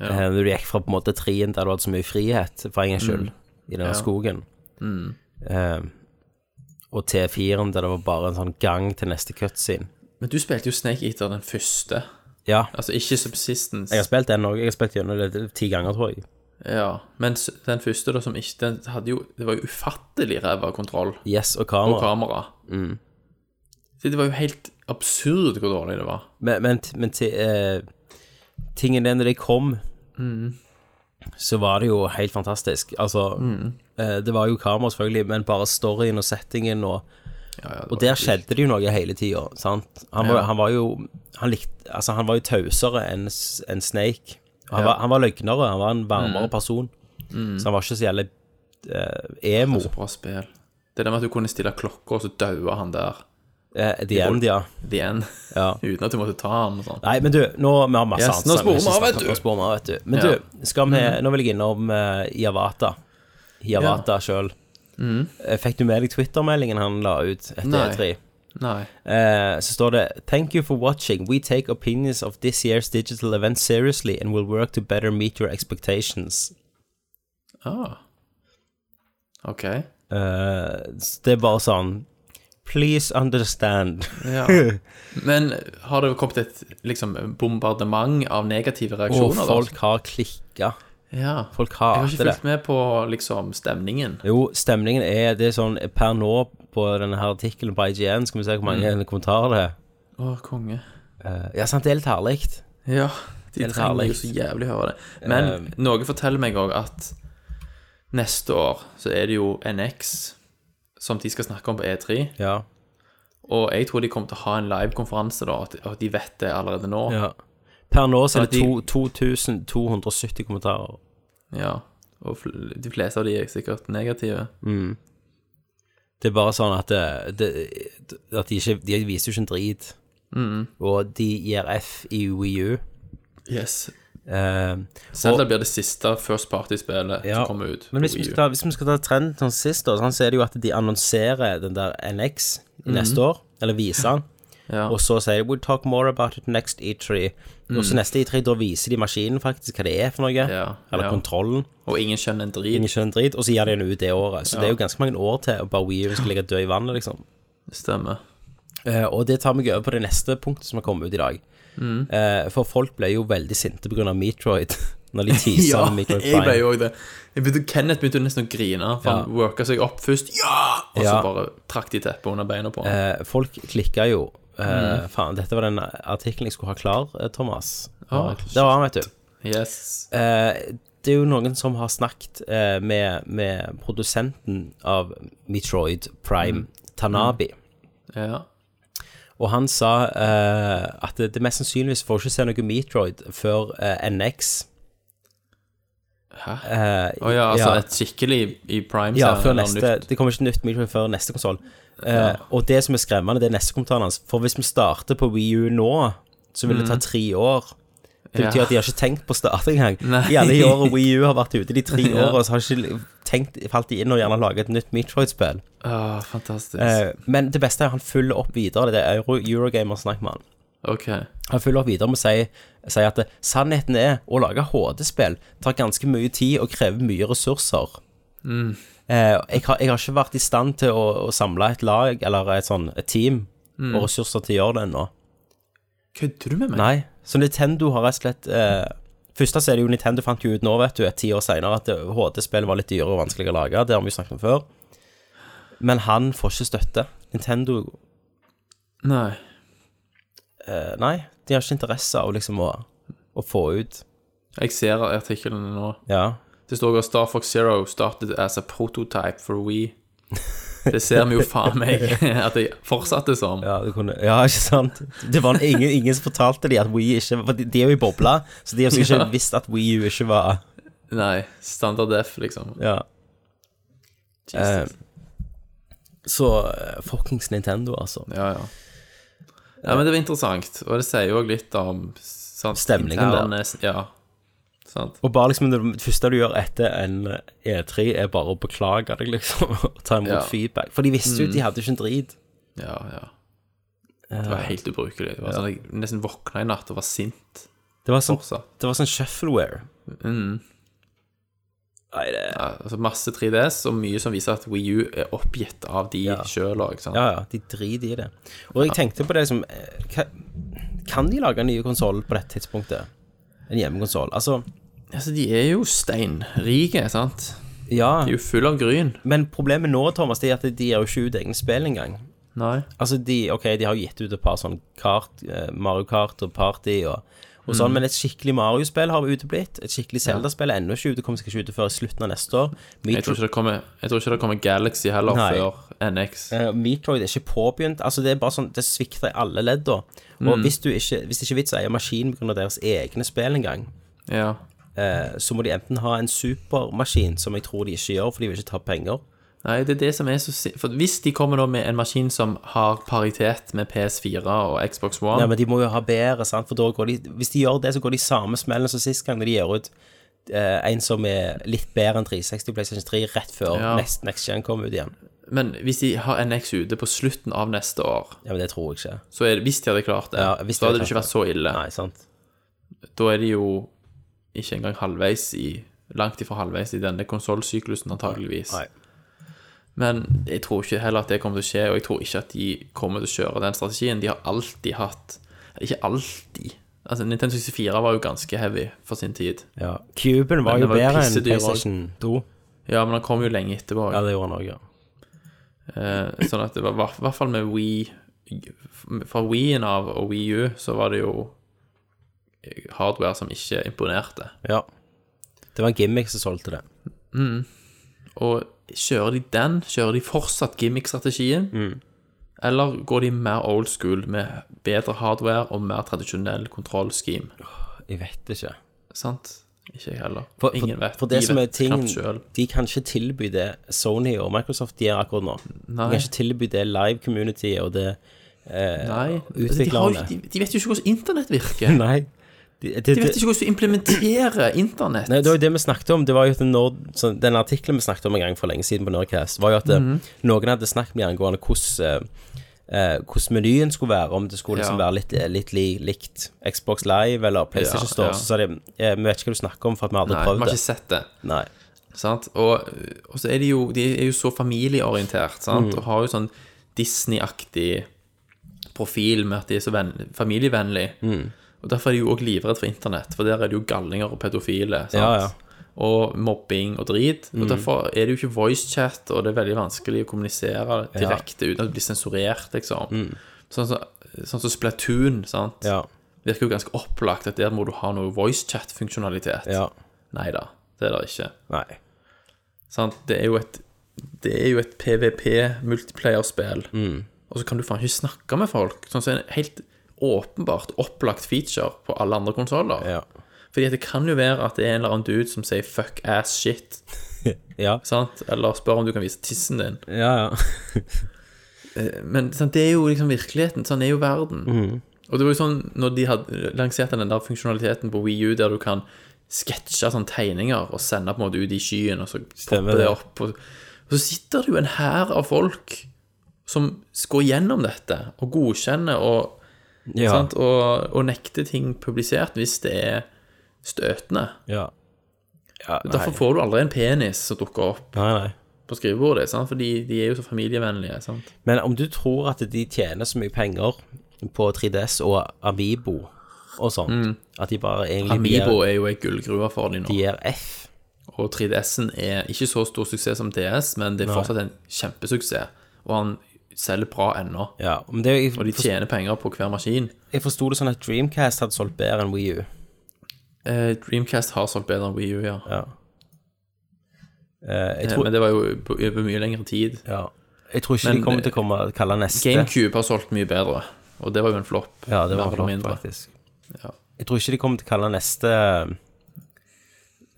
Når du gikk fra på en måte trien der du hadde så mye frihet, for en gangs skyld, i denne skogen, eh, og til firen der det var bare en sånn gang til neste cutscene.
Men du spilte jo Snake Eater den første.
Ja.
Altså ikke Subsistence.
Jeg har spilt den òg. Jeg har spilt gjennom det ti ganger, tror jeg.
Ja. Men s- den første, da, som ikke Den hadde jo Det var jo ufattelig ræva kontroll
Yes, og
på
kamera.
kamera.
Mm.
Så Det var jo helt absurd hvor dårlig det var.
Men, men, men ti- eh, tingen er, når de kom, så var det jo helt fantastisk. Altså, eh, det var jo kamera, selvfølgelig, men bare storyen og settingen og Og der skjedde det jo noe hele tida, sant. Han var, han var jo han, likte, altså, han var jo tausere enn s- enn Snake. Han, var, han var løgnere, han var en varmere person. Så han var ikke så jævlig eh, emo.
Så bra spill. Det der med at du kunne stille klokka, og så daua han der.
Eh, the end, ja.
The end.
Ja.
Uten at du måtte ta han og sånn.
Nei, men du, nå vi har masse
Yes,
annet
nå
som
sporer
vi
vi
ikke
av, vet
snakker om.
du.
Nå sporer vi av, vet du. Men
Ja. Mm-hmm.
du, skal vi, nå vil jeg innom uh, Javata. Eh, Javata selv sjøl. Fikk du med deg Twitter-meldingen han la ut etter
Mm-hmm. Nei.
E3?
Nei.
Eh, så står det Thank you for watching. We take opinions of this year's digital event seriously and will work to better meet your expectations.
Ah. OK.
Eh, så det er bare sånn Please understand.
Ja. Men har det kommet et liksom, bombardement av negative
Og
reaksjoner? da?
folk har klikka.
ja.
Folk
Jeg har
hater
ikke
det.
fulgt med på liksom, stemningen.
Jo, stemningen er Det er sånn per nå på denne her artikkelen på IGN Skal vi se hvor mange kommentarer det er.
Å, konge.
Mm. Eh, ja, sant, det er litt herlig.
Ja, de
Helt
trenger
herlig.
jo så jævlig å høre det. Men
Eh,
noe forteller meg òg at neste år så er det jo NX som de skal snakke om på E3.
Ja.
Og jeg tror de kommer til å ha en livekonferanse da, at- at de vet det allerede nå. Ja.
ja. Per nå så er det
Ja,
to- 2270 kommentarer.
Og fl- de fleste av de er sikkert negative.
Det er bare sånn at, det, det, at de, ikke, de viser jo ikke en drit. Mm. Og de gir F i WiiU.
Yes.
Eh,
Zelda blir det siste first party-spillet
ja.
som kommer ut.
Men hvis
på
vi
Wii U.
skal ta, hvis vi skal ta trenden sånn sist, da, sånn, så er det jo at de annonserer den der NX i neste år. Eller viser den.
ja.
Og så sier de We'll talk more about it next E3. Og så neste E3, da viser de maskinen faktisk hva det er for noe. eller
Mm. ja.
kontrollen.
Og ingen skjønner en
Ingen
drit.
skjønner en drit, og så gir de den ut det året. Så det er jo ganske mange år til og bare WeU skal ligge død i vannet, liksom.
Stemmer.
Eh, og det tar meg over på det neste punktet som har kommet ut i dag.
Mm.
Eh, for folk ble jo veldig sinte pga. Metroid når de teaser
Ja,
sånn Metroid
jeg ble
Prime.
jo også det. Jeg begynte, Kenneth begynte nesten å grine, for han worka seg opp først. Ja! Og så
Ja.
bare trakk de teppet under beina på han.
Eh, folk klikka jo. Eh,
Mm.
Faen, dette var den artikkelen jeg skulle ha klar, eh, Thomas.
Ah,
det var han, vet du.
Yes.
Eh, det er jo noen som har snakket eh, med, med produsenten av Metroid Prime,
Mm.
Tanabi.
Ja.
Og han sa eh, at det, det mest sannsynligvis får ikke se noe Metroid før eh, NX.
Hæ?
Eh,
Å ja, altså
ja.
et skikkelig i prime
Ja,
serien,
før
eller
Altså, neste,
nytt.
det kommer ikke nytt Metroid før neste konsoll. Eh, Og det som er skremmende, det er neste kommentaren hans. For hvis vi starter på Wii U nå, så vil det ta tre år. Det betyr
Mm. Ja.
at de har ikke tenkt på å starte engang.
Nei.
I alle de årene Wii U har vært ute, de tre
Ja.
årene, så har de ikke tenkt, falt de inn og gjerne laget et nytt Metroid-spill.
Ah, fantastisk.
Eh, men det beste er at han følger opp videre. Det er Euro, Eurogamer snakker med han.
ok.
Han følger opp videre med å si, si at eh, sannheten er å lage HD-spill tar ganske mye tid og krever mye ressurser. Eh, jeg, har, jeg har ikke vært i stand til å, å samle et lag eller et, sånn, et team og ressurser til å gjøre det ennå.
Kødder du med meg?
Nei, så Nintendo har rett og slett eh, Først så er det jo Nintendo fant jo ut nå, vet du, et tiår senere at eh, HD-spill var litt dyrere og vanskeligere å lage. Det har vi jo snakket om før. Men han får ikke støtte. Nintendo
Nei.
eh, Nei, de har ikke interesse av liksom å, å få ut
Jeg ser artikkelen nå.
Ja.
Det står at Star Fox Zero started as a prototype for Wii. Det ser vi jo faen meg at jeg fortsatte som.
Ja, du kunne, ja, ikke sant? Det var ingen, ingen som fortalte de at Wii ikke For de, de er jo i bobla, så de har sikkert ikke
Ja.
visst at Wii U ikke var
Nei. Standard F, liksom.
Ja. Eh,
Jesus.
så eh, fuckings Nintendo, altså.
Ja, ja. Ja, men det var interessant, og det sier jo også litt om sant,
Stemningen
der. Ja, sant.
Og bare liksom det første du gjør etter en E3, er bare å beklage deg, liksom. Og ta imot
Ja.
feedback. For de visste jo at de hadde ikke en drit.
Ja, ja. Det var
Eh.
helt ubrukelig. Det var sånn, Jeg nesten våkna i natt og var sint
Det var sånn,
fortsatt.
det var sånn shuffleware. Mm. Nei, det
Ja, altså masse 3DS og mye som viser at Wii U er oppgitt av de
Ja.
sjøl òg.
Ja, ja, de driter i det. Og jeg tenkte på det liksom eh, hva- Kan de lage en ny konsoll på dette tidspunktet? En hjemmekonsoll? Altså,
Altså, de er jo steinrike, sant?
ja.
De er jo fulle av gryn.
Men problemet nå, Thomas, det er at de gir jo ikke ut egne spill engang.
Nei.
Altså, de, ok, de har jo gitt ut et par sånne kart, eh, Mario Kart og Party og, og
Mm.
sånn, men et skikkelig Mario-spill har uteblitt. Et skikkelig Zelda-spill er ennå ikke ute, kommer sikkert ikke ut før i slutten av neste år.
Jeg tror
Metroid,
ikke det kommer, jeg tror ikke det kommer Galaxy heller
Nei.
før NX.
eh, Metroid er ikke påbegynt. Altså, det er bare sånn, det svikter i alle ledd da. Og
Mm.
hvis, du ikke, hvis det ikke er vits å eie maskin på grunn av deres egne spill engang,
Ja.
eh, så må de enten ha en supermaskin, som jeg tror de ikke gjør, for de vil ikke ta penger.
Nei, det er det som er så si- For Hvis de kommer da med en maskin som har paritet med PS4 og Xbox One
Ja, men de må jo ha bedre, sant? for da går de, hvis de gjør det, så går de samme smellen som sist gang når de gir ut eh, en som er litt bedre enn 360 PlayStation 3 rett før
Ja.
nest- Next Gen kommer ut igjen.
Men hvis de har NX ute på slutten av neste år,
Ja, men det tror jeg ikke.
så er det, hvis de hadde klart det,
Ja, hvis de
så hadde
hadde
det ikke vært så ille.
Nei, sant.
Da er de jo ikke engang halvveis i Langt ifra halvveis i denne konsollsyklusen, antageligvis.
Nei.
Men jeg tror ikke heller at det kommer til å skje, og jeg tror ikke at de kommer til å kjøre den strategien. De har alltid hatt Ikke alltid. Altså, Nintendo 64 var jo ganske heavy for sin tid.
Ja. Cuben var
Men
jo
det var jo
bedre enn
pissedyr også.
PlayStation 2.
Ja, men han kom jo lenge etterpå.
Ja, det gjorde han òg, ja.
Eh, sånn at det var i hvert fall med Wii Fra Wien av og Wii U så var det jo eh, hardware som ikke imponerte.
ja. Det var en gimmick som solgte det.
Og kjører de den? Kjører de fortsatt gimmick-strategien? Eller går de mer old school med bedre hardware og mer tradisjonell kontrollscheme?
Jeg vet ikke.
Sant? Ikke jeg heller.
For,
Ingen
for,
vet.
for det
de
som er
vet
tingen,
knapt selv.
de kan ikke tilby det Sony og Microsoft gjør akkurat nå.
Nei.
De kan ikke tilby det live community og det
Nei. Altså, de, har,
utviklerne.
jo- de, de vet jo ikke hvordan internett virker.
Nei. De, det-
De
det-
vet ikke hvordan du implementerer internett.
Nei, det var jo det vi snakket om. Det var jo at når, så den artikkelen vi snakket om en gang for lenge siden på Nerdcast, var jo at eh,
Mhm.
noen hadde snakket med de angående hvordan eh, eh, hvordan menyen skulle være, om det skulle liksom
Ja.
være litt, eh, litt li, likt Xbox Live eller PlayStation
Ja,
Store.
ja.
Så sa de eh, vi vet ikke hva du snakker om, for at vi aldri
Nei,
har
vi
prøvd
har
det.
ikke sett det.
Nei.
Sant? Og, og så er de jo De er jo så familieorientert, sant?
Mm.
Og har jo sånn Disney-aktig profil med at de er så venn, familievennlig.
Mm.
Og derfor er de jo òg livredd for internett, for der er det jo galninger og pedofile. Sant?
Ja, Mm. ja.
Og mobbing og drit. Og derfor er det jo ikke voicechat, og det er veldig vanskelig å kommunisere direkte uten at det blir sensurert, liksom. Sånn som sånn som Splatoon, sant.
Mm. Ja.
Virker jo ganske opplagt at der må du ha noe voicechat-funksjonalitet.
ja.
Nei da, det er det ikke.
Nei.
Sant? Det er jo et Det er jo et PVP-multiplayerspill. Og så kan du faen ikke snakke med folk. Sånn som en helt åpenbart opplagt feature på alle andre konsoller.
Ja.
Fordi at det kan jo være at det er en eller annen dude som sier 'fuck ass shit',
Ja.
sant? eller spør om du kan vise tissen din.
Ja, ja.
Men sant, det er jo liksom virkeligheten. Sånn er jo verden.
Mm.
Og det var jo sånn når de hadde lanserte den der funksjonaliteten på Wii U der du kan sketsje sånne tegninger og sende på en måte ut i skyen, og så
Stemmer
popper det
det.
opp. Og, og så sitter det jo en hær av folk som går gjennom dette og godkjenner og,
ja.
sant, og, og nekter ting publisert hvis det er støtende.
ja. ja nei.
Derfor får du aldri en penis som dukker opp
nei, nei.
på skrivebordet, sant? fordi de er jo så familievennlige. sant?
Men om du tror at de tjener så mye penger på 3DS og Amibo og sånt,
Mm.
at de bare egentlig
Amibo er jo ei gullgruve for de nå.
de gir F
Og 3DS-en er ikke så stor suksess som DS, men det er fortsatt en kjempesuksess. Og han selger bra ennå.
Ja, men det, jeg,
Og de
forst-
tjener penger på hver maskin.
jeg forsto det sånn at Dreamcast hadde solgt bedre enn Wii U.
Eh, Dreamcast har solgt bedre enn Wii U, ja.
Ja. Eh, jeg,
Eh,
tror,
Men det var jo på- over mye lengre tid.
ja. jeg tror ikke
Men- eh,
de kommer til å komme og kalle neste
GameCube har solgt mye bedre, og det var jo en flopp.
Ja, det
mer
var
eller
flott,
mindre.
faktisk.
Ja.
Jeg tror ikke de kommer til å kalle neste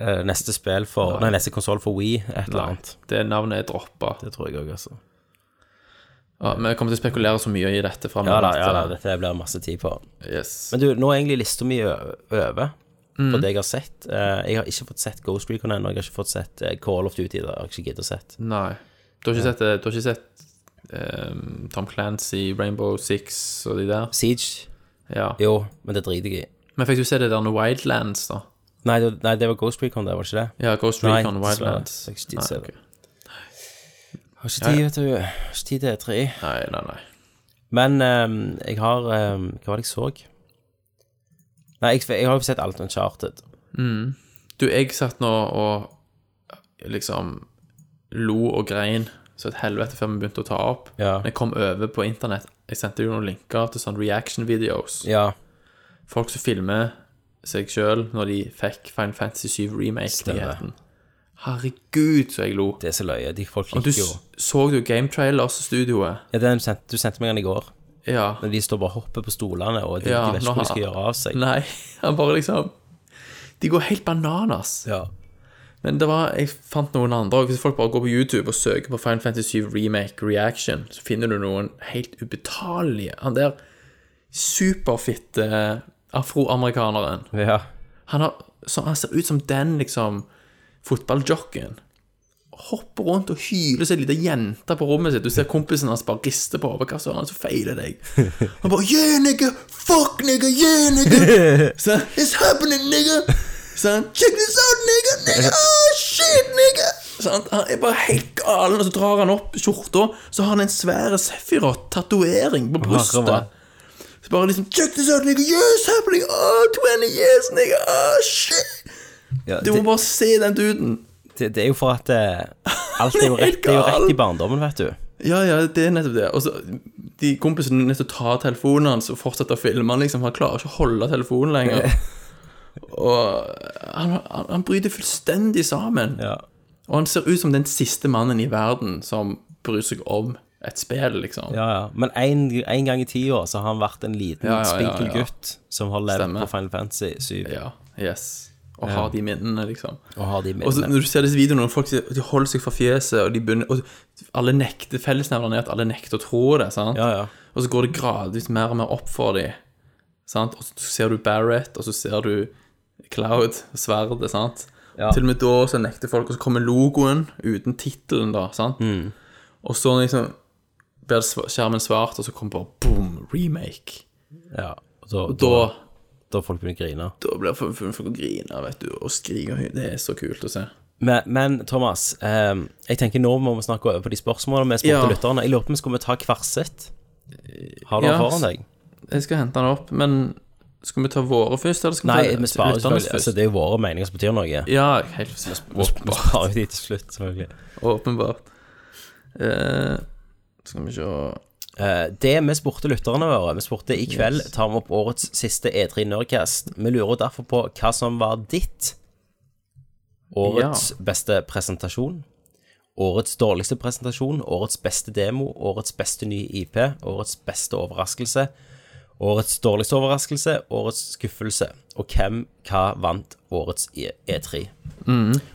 eh, Neste spill for Nei, neste konsoll for Wii, et eller
Nei,
annet.
det navnet er droppa.
Det tror jeg òg, altså.
Ja, men jeg kommer til å spekulere så mye i dette
Ja da,
framover.
ja da, eh, dette blir masse tid på.
yes.
Men du, nå er egentlig lista mi ø- over på det jeg har sett. Eh, jeg har ikke fått sett Ghost Recon ennå. Jeg har ikke fått sett eh, Call of Duty. Det har jeg ikke giddet å sett.
Nei. Du har ikke sett, det- du har ikke sett eh, Tom Clancy, Rainbow Six og de der?
Siege?
Ja.
Jo, men det driter jeg i.
Men fikk du se det der med Wildlands, da?
Nei, det, nei, det var Ghost Recon, det, var ikke det?
Ja, Ghost
Nei,
Recon
dessverre.
Wildlands.
Jeg har ikke tid til å se det.
ok.
Har ikke tid, vet du. Har ikke tid til E3.
Nei, nei, nei.
Men ehm, jeg har ehm, Hva var det jeg så? Nei, jeg, jeg har jo sett alt Uncharted.
Du, jeg satt nå og liksom lo og grein så et helvete før vi begynte å ta opp.
Ja.
Men jeg kom over på internett. Jeg sendte jo noen linker til sånne reaction videos.
Ja,
Folk som filmer seg sjøl når de fikk Final Fantasy 7 Remake-nyheten. Herregud, så jeg lo.
det er så løye. De folk
Og du
liker jo
s- så du Game Trailers-studioet?
ja, den sendte, Du sendte meg den i går.
Ja.
Når de står bare og hopper på stolene, og de,
Ja,
de vet
nå
ikke hva de
har-
skal gjøre av seg.
Nei, han bare liksom De går helt bananas.
Ja.
Men det var, jeg fant noen andre. og Hvis folk bare går på YouTube og søker på Final Fantasy 7 Remake Reaction, så finner du noen helt ubetalelige. Han der superfitte afroamerikaneren.
ja.
Han, har, så han ser ut som den liksom fotballjocken. hopper rundt og hyler seg lita jente på rommet sitt. Du ser kompisen hans bare rister på overkassa, og han så feiler deg. Han bare Yeah, nigga! Fuck, nigga! Yeah, nigga! Sånn, It's happening, nigga! Sånn, Check this out, nigga! nigga. Oh, shit, nigga! Sånn, han er bare helt galen, og så drar han opp skjorta, så har han en svær Sefirot-tatovering på
Herre,
brystet. Så bare liksom Check this out, nigga! Yeah, it's happening! Oh, 20 years, nigga! Oh, shit!
Ja,
Du må
det,
bare se den duden.
det, det er jo for at eh, alt er jo
er helt
rett, det er jo
gal.
rett i barndommen, vet du.
Ja, ja, det er nettopp det. Og så de kompisene er nødt til å ta telefonen hans og fortsette å filme han, liksom. Han klarer ikke å holde telefonen lenger. Og han, han, han bryter fullstendig sammen.
Ja.
Og han ser ut som den siste mannen i verden som bryr seg om et spill, liksom.
Ja, ja. Men en, en gang i tida så har han vært en liten,
Ja, ja, ja,
spinkel
ja.
gutt som har levd
Stemmer.
på Final Fantasy 7
Ja, yes. Og har de minnene, liksom.
og har de
Og så
minnene.
når du ser disse videoene, når folk sier- de holder seg fra fjeset, og de begynner og alle nekter, Fellesnevneren er at alle nekter å tro det. sant?
Ja, ja.
Og så går det gradvis mer og mer opp for dem. Sant? Og så ser du Barrett, og så ser du Cloud, sverdet, sant.
Ja.
Til og med da så nekter folk, og så kommer logoen uten tittelen, da. sant?
Mm.
Og så liksom blir det sv- skjermen svart, og så kommer bare boom, remake.
ja. Og da,
Og
da,
da
da folk begynner å grine.
da blir folk folk å grine vet du, og skrike. og hy- Det er så kult å se.
Men, men Thomas, eh, jeg tenker nå må vi snakke over på de spørsmålene vi spurte
Ja.
lytterne. Jeg lurer på om vi skulle ta hver sitt. Har du
Ja.
den foran deg?
Jeg skal hente den opp, men skal vi ta våre først? Eller skal
Nei,
vi ta
vi sparer
lytternes
selvfølgelig.
først?
Altså, det er jo våre meninger som betyr noe.
Ja, helt
Vi sparer jo de til slutt, selvfølgelig.
åpenbart. Eh, skal vi se
Eh, Det vi spurte lytterne våre Vi spurte i kveld tar vi opp årets siste E3 Nerdcast. Vi lurer derfor på hva som var ditt årets beste presentasjon. Årets dårligste presentasjon, årets beste demo, årets beste nye IP, årets beste overraskelse, årets dårligste overraskelse, årets skuffelse. Og hvem, hva vant årets E- E3?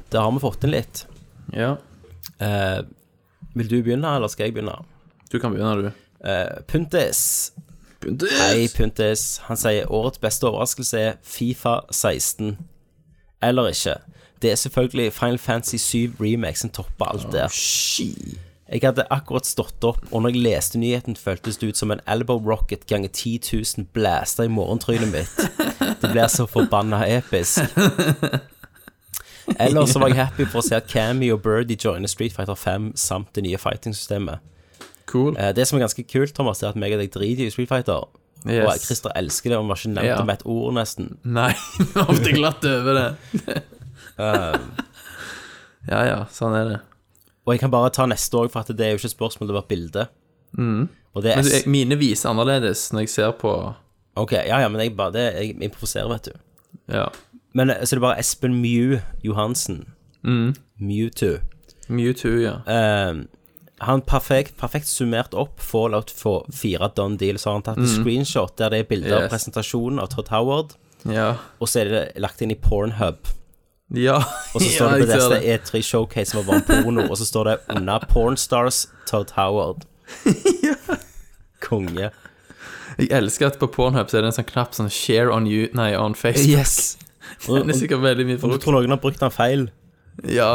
Det har vi fått inn litt.
Ja,
Eh, vil du begynne, eller skal jeg begynne?
du kan begynne, du.
Eh, Puntis. Hei, Puntis. Han sier årets beste overraskelse er Fifa 16. Eller ikke. Det er selvfølgelig Final Fantasy 7 Remake som topper alt det. Jeg hadde akkurat stått opp, og når jeg leste nyheten, føltes det ut som en elbow rocket ganger 10 000 blaster i morgentrynet mitt. Det blir så forbanna episk. Ellers så var jeg happy for å se at Cammy og Birdie joiner Street Fighter 5 samt det nye fighting-systemet.
Cool.
Eh, Det som er ganske kult, Thomas, er at meg og deg driter i Street Fighter. Og
Yes.
Christer elsker det, og vi har ikke nevnt
Ja.
det med et ord, nesten.
Nei, vi har ofte glatt over det.
Um.
ja, ja, sånn er det.
Og jeg kan bare ta neste òg, for at det er jo ikke et spørsmål, det var et bilde.
Mm. Men
Og det er
du,
S.
jeg- mine viser annerledes når jeg ser på
Ok, ja, ja, men jeg bare det, Jeg improviserer, vet du.
ja,
Men eh, så er det bare Espen Mew Johansen.
Mm.
Mewtwo.
Mewtwo, ja.
Ehm, han perfekt, perfekt summert opp Fallout 4 Done Deal, så har han tatt en screenshot der det er bilder av
Mm. Yes.
presentasjonen av Todd Howard,
Ja,
og så er det lagt inn i Pornhub.
ja.
Og så står
ja,
det på
jeg ser
neste E3 Showcase som var bare porno, og så står det under Pornstars Todd Howard. Konge.
Jeg elsker at på Pornhub så er det en sånn knapp sånn share on you, nei, on Facebook.
Yes.
Den er sikkert veldig mye
Og du
brukt.
tror noen har brukt den feil?
Ja,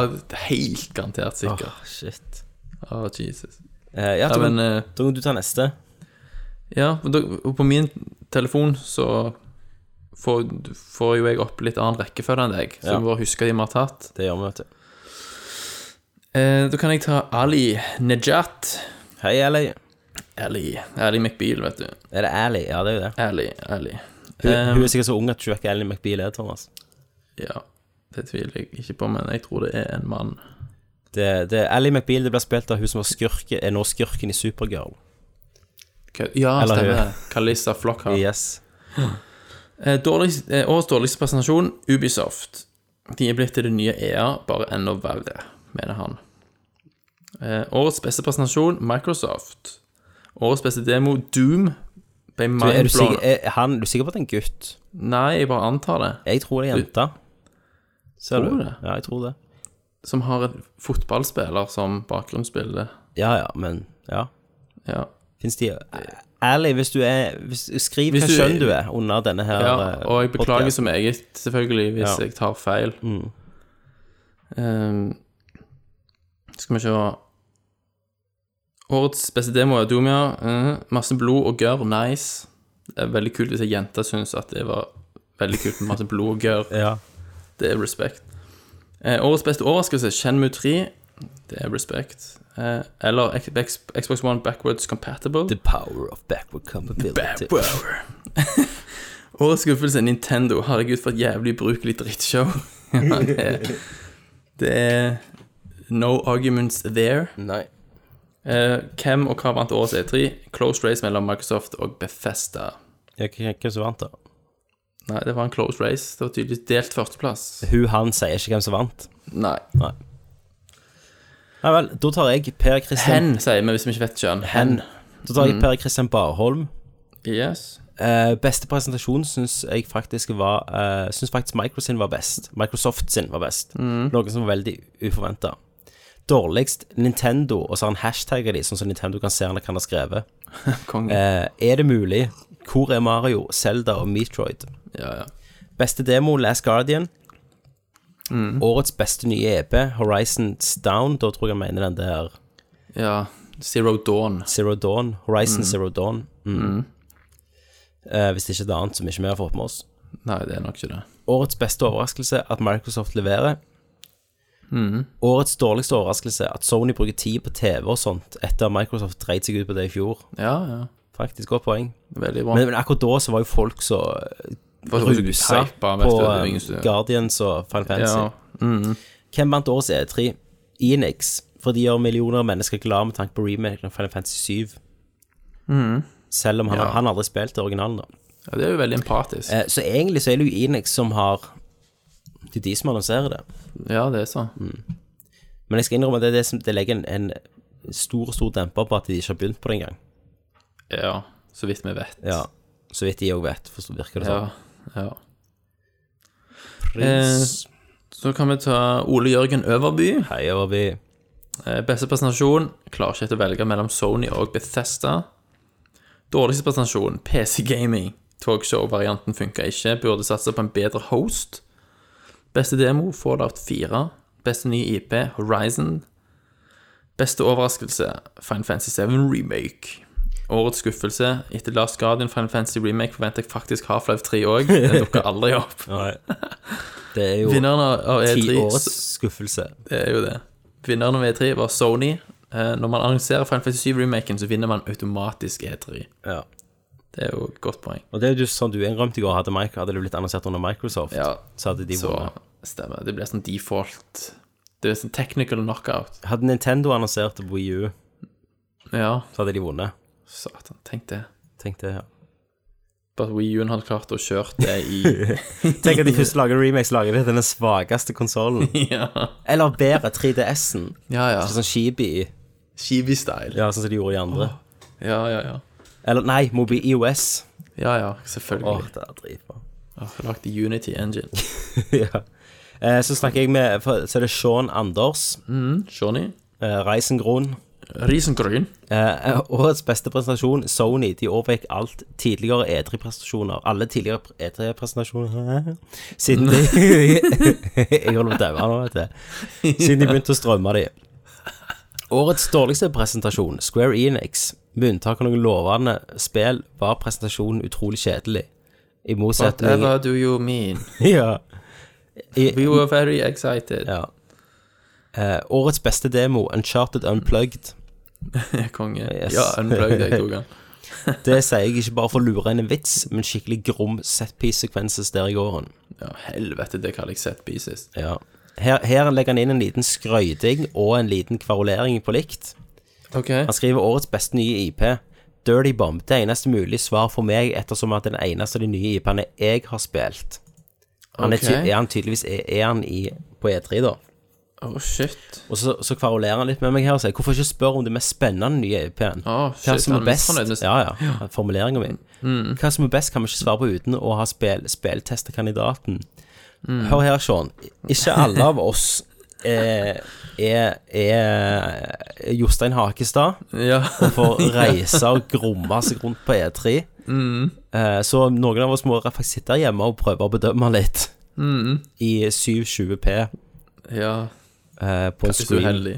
helt garantert sikkert.
Åh, shit.
Å, Jesus.
Eh, ja,
Ja,
da
men,
kan-
eh,
da kan Ah. du ta neste.
ja, og da- og på min telefon så får, får jo jeg opp litt annen rekkefølge enn deg, så
Ja.
vi må bare huske de vi har tatt.
Det gjør vi, vet du.
Eh, da kan jeg ta Ali Nejat.
Hei, Ally.
Ali. Ali McBeal, vet du.
Er det Ally? Ja, det er jo det. Um,
Ali. Ali.
Hun,
Eh,
hun er sikkert så ung at hun ikke er Ally McBeal er, Thomas.
ja, det tviler jeg ikke på, men jeg tror det er en mann.
Det, det, Ally McBeal det ble spilt av hun som var skurke, er nå skurken i Supergirl.
Kø- Ja,
Eller hun.
stemmer. Kalissa Flockhart.
Yes.
Eh, dårligst, eh, årets dårligste presentasjon, Ubisoft. De er blitt til det nye EA, bare enda verre, mener han. Eh, årets beste presentasjon, Microsoft. Årets beste demo, Doom. Ble
Du, er, du sikker,
mindblown.
er, han, du er sikker på at det er en gutt?
Nei, jeg bare antar det.
Jeg tror det er en jente. Ser
Tror
du?
det?
Ja, jeg tror det.
Som har en fotballspiller som bakgrunnsbilde.
Ja, ja, men Ja.
Ja.
Fins de Ærlig, hvis du er hvis, Skriv
Hvis
hva
du-
kjønn du er under denne her
ja.
eh,
Og jeg beklager
podcasten.
som eget,
Mm.
selvfølgelig, hvis
Ja.
jeg tar feil. Eh, Ehm, Skal vi se Årets beste demo er Doomia. Mhm. masse blod og gørr. Nice. Det er veldig kult hvis ei jente syns at det var veldig kult med masse blod og gørr.
Ja.
Det er respekt. Eh, årets beste overraskelse, Shenmue 3. Det er respekt. Eh, eller X- X- Xbox One Backwards Compatible.
The power of backward compatibility.
Backward. årets skuffelse, Nintendo. Herregud, for et jævlig brukelig drittshow. Ja, det, er- det er no arguments there.
Nei.
Eh, hvem og hva vant årets E3? Close race mellom Microsoft og Bethesda.
Ja, Hvem hvem som vant, da?
Nei, det var en close race. Det var tydeligvis delt førsteplass.
Hun, han, sier ikke hvem som vant.
Nei.
Nei. Nei vel, da tar jeg Per Christian
Hen, sier vi hvis vi ikke vet kjønn.
Hen. Da tar jeg Per Christian Barholm.
Yes.
Eh, beste presentasjon syns jeg faktisk var eh, Syns faktisk Micro sin var best. Microsoft sin var best. Noe som var veldig uforventa. Dårligst Nintendo, og så har han hashtagga de, sånn som Nintendo kan se han kan ha skrevet.
Konge.
Eh, er det mulig? Hvor er Mario, Zelda og Metroid?
Ja, ja.
Beste demo, Last Guardian. Årets beste nye EP, Horizons Down. Da tror jeg han mener den der
Ja, Zero Dawn.
Zero Dawn. Horizon Zero Dawn. Mm. Eh, hvis det ikke er det annet som ikke vi har fått med oss.
Nei, det er nok ikke det.
Årets beste overraskelse at Microsoft leverer.
Mhm.
Årets dårligste overraskelse at Sony bruker tid på TV og sånt etter at Microsoft dreit seg ut på det i fjor.
Ja, ja.
Faktisk godt poeng.
Veldig bra.
Men, men akkurat da så var jo folk så
Folk var så
rusa
hypa,
på
vet du, det er ingen
eh,
som-
Guardians og Final Fantasy.
Ja.
Hvem vant årets E3? Enix. For de gjør millioner av mennesker glad med tanke på remaken av Final Fantasy 7. Selv om han,
Mhm. Ja.
han aldri spilte originalen, da.
ja, det er jo veldig empatisk.
Eh, så egentlig så er det jo Enix som har Det er de som annonserer det.
Ja, det er sånn.
Men jeg skal innrømme at det, er det, som, det legger en, en stor stor demper på at de ikke har begynt på det engang.
Ja, så vidt vi vet.
Ja. Så vidt de òg vet, for så virker det
Ja,
sånn.
ja.
Pris.
Så kan vi ta Ole Jørgen Øverby.
Hei, Øverby.
Eh, Beste presentasjon. Klarer ikke helt å velge mellom Sony og Bethesda. Dårligste presentasjon. PC Gaming. Talkshow-varianten funka ikke. Burde satse på en bedre host. Beste demo. Fallout 4. Beste nye IP. Horizon. Beste overraskelse. Final Fantasy 7 Remake. Årets skuffelse. Etter Last Guardian Final Fantasy Remake forventer jeg faktisk Half-Life 3 òg. Den dukker aldri opp.
Det er jo
Vinneren av- av
ti
E3
årets skuffelse.
det er jo det. Vinneren av E3 var Sony. Eh, Når man annonserer Final Fantasy 7-remaken, så vinner man automatisk E3.
Ja.
Det er jo et godt poeng.
Og det er jo sånn du innrømte i går, hadde, Mike, hadde det blitt annonsert under Microsoft,
Ja.
så hadde de
Så
vunnet.
stemmer. Det blir sånn default Det er sånn technical knockout.
Hadde Nintendo annonsert det på Wii U,
Ja,
så hadde de vunnet.
satan. Tenk det.
Tenkte jeg.
Bare at Wii U-en hadde klart å kjøre det i
Tenk at de først lager remakes, lager de til den svakeste konsollen.
Ja,
Eller bedre, 3DS-en.
ja. ja.
Sånn Shibi,
Chibi-style.
ja, sånn som de gjorde i andre.
Ja, ja, ja.
Eller nei, Mobi IOS.
Ja, ja,
Åh,
selvfølgelig.
det er dritbra.
Oh, Lagt i Unity Engine.
ja. Eh, Så snakker jeg med for, Så er det Sean Anders,
Johnny?
eh, Reisengron.
Risengryn?
Eh, årets beste presentasjon, Sony. De overgikk alt tidligere E3-presentasjoner. Alle tidligere E3-presentasjoner Siden de Jeg holder på å daue nå, vet du. Siden de begynte å strømme de. Årets dårligste presentasjon, Square Enix. Med unntak av noen lovende spill var presentasjonen utrolig kjedelig. I motsetning
Whatever do you mean?
Ja. I,
We were very excited.
Ja. Eh, årets beste demo, Uncharted Unplugged.
Konge.
Yes.
Ja, unplugged, jeg tok den.
Det sier jeg ikke bare for å lure inn en vits, men skikkelig grom setpiece-sekvenses der i gården.
Ja, helvete, det kaller jeg set pieces.
Ja. Her, her legger han inn en liten skrøyting og en liten kvarulering på likt.
Ok.
Han skriver årets beste nye IP. Dirty Bomb. Det eneste mulige svar for meg, ettersom at den eneste av de nye IP-ene jeg har spilt. Han er,
Ok.
ty er han tydeligvis er, er han i, på E3, da.
Oh, shit.
Og så, så kvarulerer han litt med meg her og sier Hvorfor ikke spørre om det mest spennende nye EP-en?
Å,
Hva
Ah, shit,
som
han
er
er
best
misfornøyd med Mm. seg.
Ja, ja, formuleringen min Hva som er best kan vi ikke svare på uten å ha spil, spiltestet kandidaten
Mm.
Hør her, Sean Ikke alle av oss er, er, er Jostein Hakestad
Ja.
for å reise og gromme seg rundt på E3
Mm.
Eh, Så noen av oss må faktisk sitte hjemme og prøve å bedømme litt
Mm.
I 720p eh,
ja,
På en
hvis du er
eh, screen
heldig.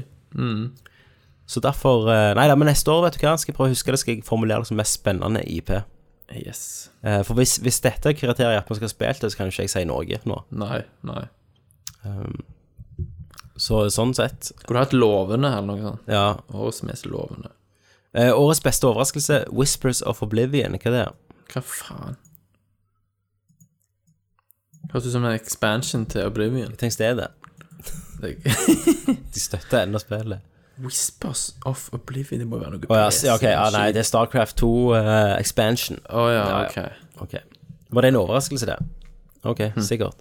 Så derfor eh, Nei da, men neste år, vet du hva, skal jeg prøve å huske det, skal jeg formulere det som mest spennende IP.
Yes.
Eh, For hvis, hvis dette er kriteriet at vi skal ha spilt det, så kan jo ikke jeg si noe nå.
Nei, nei.
Så sånn sett,
Skulle du hatt lovende eller noe sånt?
ja.
Årets mest lovende.
Eh, Årets beste overraskelse, Whispers of Oblivion, hva det er?
Hva faen? Høres ut som en expansion til Oblivion.
Tenk stedet.
Det-
De støtter ennå spillet.
Whispers of Oblivion, det må være noe
Å ja, s- ja, ok, ja, nei, det er Starcraft 2 eh, Expansion.
Å ja, ok.
Ok. Var det en overraskelse, det? Ok,
Hm.
sikkert.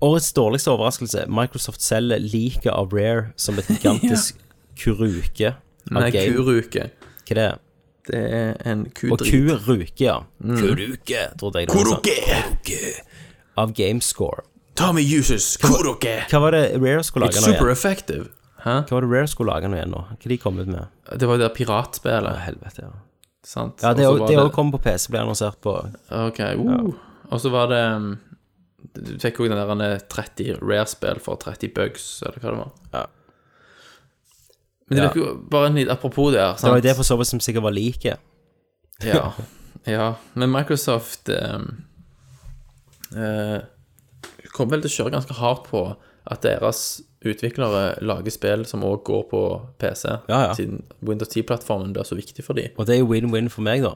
Årets dårligste overraskelse. Microsoft selger liket av Rare som et gigantisk kuruke av
Nei,
game.
kuruke.
Hva det er?
Det er en
Og
kudrik.
kuruke, ja. Kuruke, trodde jeg det var. Kuruke! Av Gamescore.
Tommy uses kuruke!
Hva var det Rare skulle lage nå
Super
igjen?
effective. Hæ?
Hva var det Rare skulle lage nå igjen nå? Hva de kom ut med?
Det var jo det
Å,
piratspillet,
helvete, ja.
sant?
Ja, det
Og så var
òg kom på PC, ble annonsert på
Ok, uh. Og så var det um, Du fikk jo den der ene 30 rare-spill for 30 bugs, eller hva det var.
Ja.
Men det
Ja.
virker jo bare en liten apropos der, sant?
Det var jo det for så vidt som sikkert var liket.
Ja. ja. Men Microsoft ehm, eh, kommer vel til å kjøre ganske hardt på at deres utviklere lager spill som òg går på PC,
Ja, ja.
siden Windows 10-plattformen blir så viktig for dem.
Og det er jo win-win for meg, da.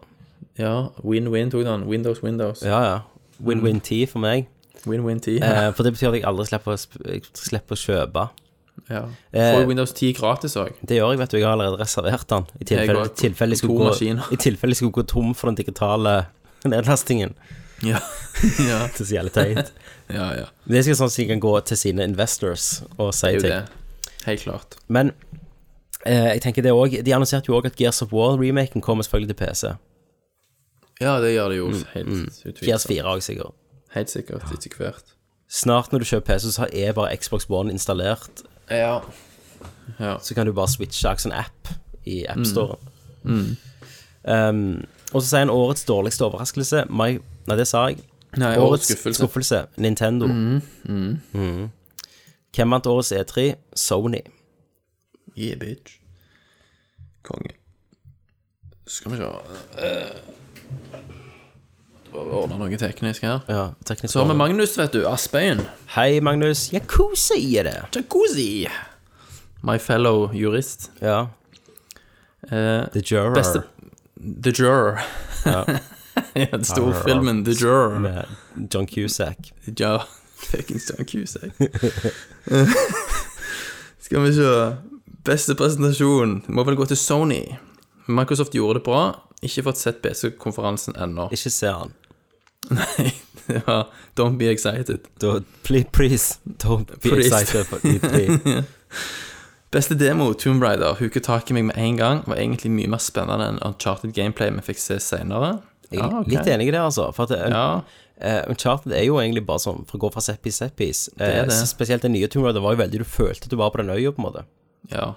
Ja, win-win tok den. Windows, Windows.
Ja, ja. Win-win 10 for meg.
Win-win 10.
Eh, for det betyr at jeg aldri slipper å, sp- jeg slipper å kjøpe.
ja.
eh,
Får jo Windows 10 gratis òg.
Det gjør jeg, vet du. Jeg har allerede reservert den. I
Jeg
tilfelle,
går
i tilfelle, jeg,
to
skulle gå,
maskiner.
I tilfelle jeg skulle gå tom for den digitale nedlastingen.
Ja. ja.
Det er så jævlig teit.
ja, ja.
Men Det skal sånn at de kan gå til sine investors og si
Det er jo
ting.
det. Helt klart.
Men eh, jeg tenker det også, de annonserte jo òg at Gears of War-remaken kommer selvfølgelig til PC.
Ja, det gjør det jo helt
Gears
utvilsomt.
4 òg, sikkert.
Mm, Helt sikkert etter hvert.
Snart når du kjøper PC, så er bare Xbox One installert.
Ja.
så kan du bare switche en sånn app i
Mm.
AppStoren. Um, og så sier han årets dårligste overraskelse My, Nei, det sa jeg.
Nei, årets skuffelse. Mm,
Nintendo. Mhm. Hvem vant årets E3? Sony.
Yeah, bitch. Konge. Skal vi se Eh, Bare ordne noe teknisk her.
Ja, teknisk
Så har vi
overlegen.
Magnus, vet du. Aspein.
Hei, Magnus. Yakuza er det.
Jacuzzi. My fellow jurist.
Ja.
Eh,
The Juror.
beste The Juror. Ja. Den store filmen The Juror.
Med John Cusack.
Ja, fuckings John Cusack. Skal vi se. Beste presentasjon må vel gå til Sony. Microsoft gjorde det bra. Ikke fått sett PC-konferansen ennå.
Ikke se han.
ja, don't be excited.
Da, please, please, don't be
Please.
excited for E E3.
Beste demo, Tomb Raider, huket tak i meg med en gang. Var egentlig mye mer spennende enn Uncharted gameplay vi fikk se seinere.
Jeg er litt enig i det, altså. For at det,
Ah, Ja,
Eh, Uncharted er jo egentlig bare sånn for å gå fra setpiece til setpiece.
er
Eh,
det.
så spesielt den nye Tomb Raider var jo veldig Du følte at du var på den øya, på en måte.
ja.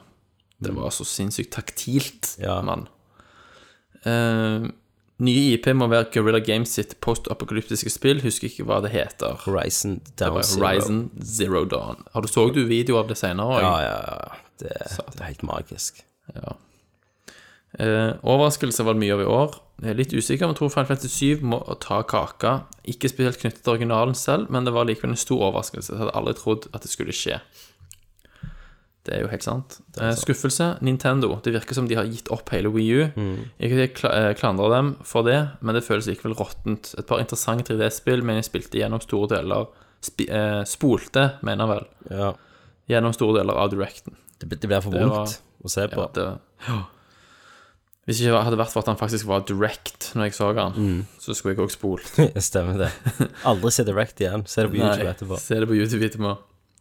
Det var så sinnssykt taktilt,
Mm. Ja.
mann. Eh, nye IP må være Guerrilla Games sitt post-apokalyptiske spill. Husker ikke hva det heter.
Horizon Down Zero.
Horizon Zero Dawn. Har du så du video av det seinere?
Ja, ja, ja. Det, det er helt magisk.
Ja. Eh, overraskelse var det mye av i år. Jeg er litt usikker, men tror Final Fantasy 7 må ta kaka. Ikke spesielt knyttet til originalen selv, men det var likevel en stor overraskelse. Jeg hadde aldri trodd at det skulle skje. Det er jo helt sant. Eh, skuffelse Nintendo. Det virker som de har gitt opp hele Wii U. Ikke at jeg kla- eh, klandrer dem for det, men det føles likevel råttent. Et par interessante 3D-spill, men jeg spilte gjennom store deler spi, eh, Spolte, mener jeg vel.
Ja.
Gjennom store deler av Directen.
Det, det blir for
Det var-
vondt å se på.
Ja, det, Hvis ikke det hadde vært for at han faktisk var direct når jeg så han,
Mm.
så skulle jeg også spolt.
Stemmer det. Aldri se Direct igjen. Se det på YouTube etterpå.
se det på YouTube etterpå.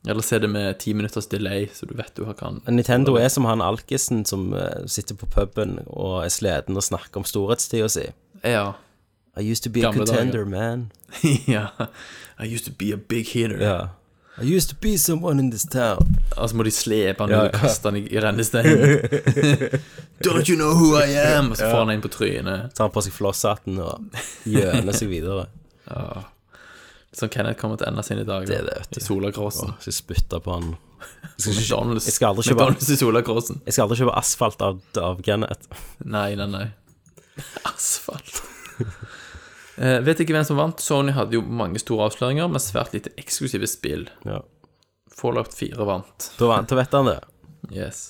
Eller se det med ti minutters delay, så du vet du har kan
Nintendo er som han alkisen som eh, sitter på puben og er sliten og snakker om storhetstida si.
Ja.
I used to be a
Gamle dager.
contender, man.
ja. I used to be a big hitter.
Ja. I used to be someone in this town.
Og så må de slepe han
Ja,
ut og
ja.
kaste han i, i rennesteinen. Don't you know who I am? Og så får han en på trynet.
Tar på seg flosshatten og gjøner seg videre.
Som Kenneth kommer til å ende sine dager
Det er det, vet du.
i solakrossen.
Skal spytte på han.
McDonald's.
Jeg skal aldri kjøpe-
McDonald's i solakrossen.
Jeg skal aldri kjøpe asfalt av, av Kenneth.
Nei, nei, nei. Asfalt. Eh, vet ikke hvem som vant. Sony hadde jo mange store avsløringer, men svært lite eksklusive spill.
Ja.
Fallout 4 vant.
Da, vant- da vet han det.
Yes.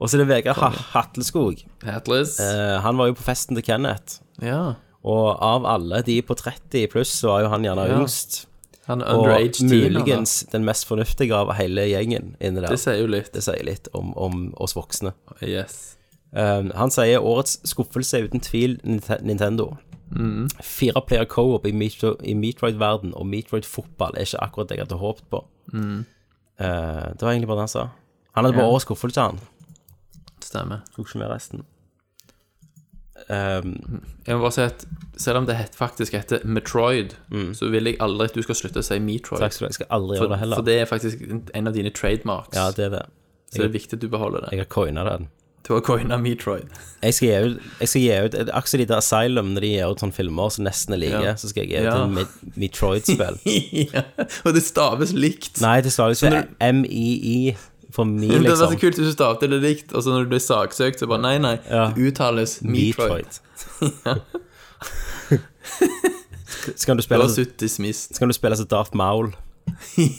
Og så er det Vegard ha Hatleskog.
Atlas.
Eh, han var jo på festen til Kenneth.
ja.
Og av alle de på 30 pluss, så var jo han gjerne
Ja.
yngst.
Han er
Og
underage teen. han da.
muligens den mest fornuftige av hele gjengen inni der.
Det sier jo litt.
Det sier litt om, om oss voksne.
Yes.
Um, han sier årets skuffelse er uten tvil Ninte- Nintendo.
Mm.
Fire player co-op i, Metro, i Metroid-verden og Metroid-fotball er ikke akkurat det jeg hadde håpet på. Uh, det var egentlig bare det han sa. Han hadde bare
Mm. Ja.
årets skuffelse, han.
Stemmer.
Tok ikke med resten. Um,
Jeg må bare si at selv om det het, faktisk heter Metroid, så vil jeg aldri at du skal slutte å si Metroid.
Mm. takk skal du ha. Jeg skal aldri
for,
gjøre det heller.
for det er faktisk en av dine trademarks.
Ja, det er det.
så det er viktig at du beholder det.
Jeg har coina den.
Du har coina Metroid.
Jeg skal gi ut, jeg skal gi ut Akkurat som de der Asylum, når de gir ut sånne filmer som nesten er like,
Ja.
så skal jeg gi ut
Ja.
en Me- Metroid-spill.
ja. Og det staves likt.
Nei, det står ikke MII for me,
Det hadde vært så
liksom.
kult hvis du stavte det likt, og så når du blir saksøkt, så bare nei, nei,
Ja.
det uttales Metroid.
Metroid. Skal du
Det
spille
var
så,
sutt dismissed.
skal du spille som Darth Maul?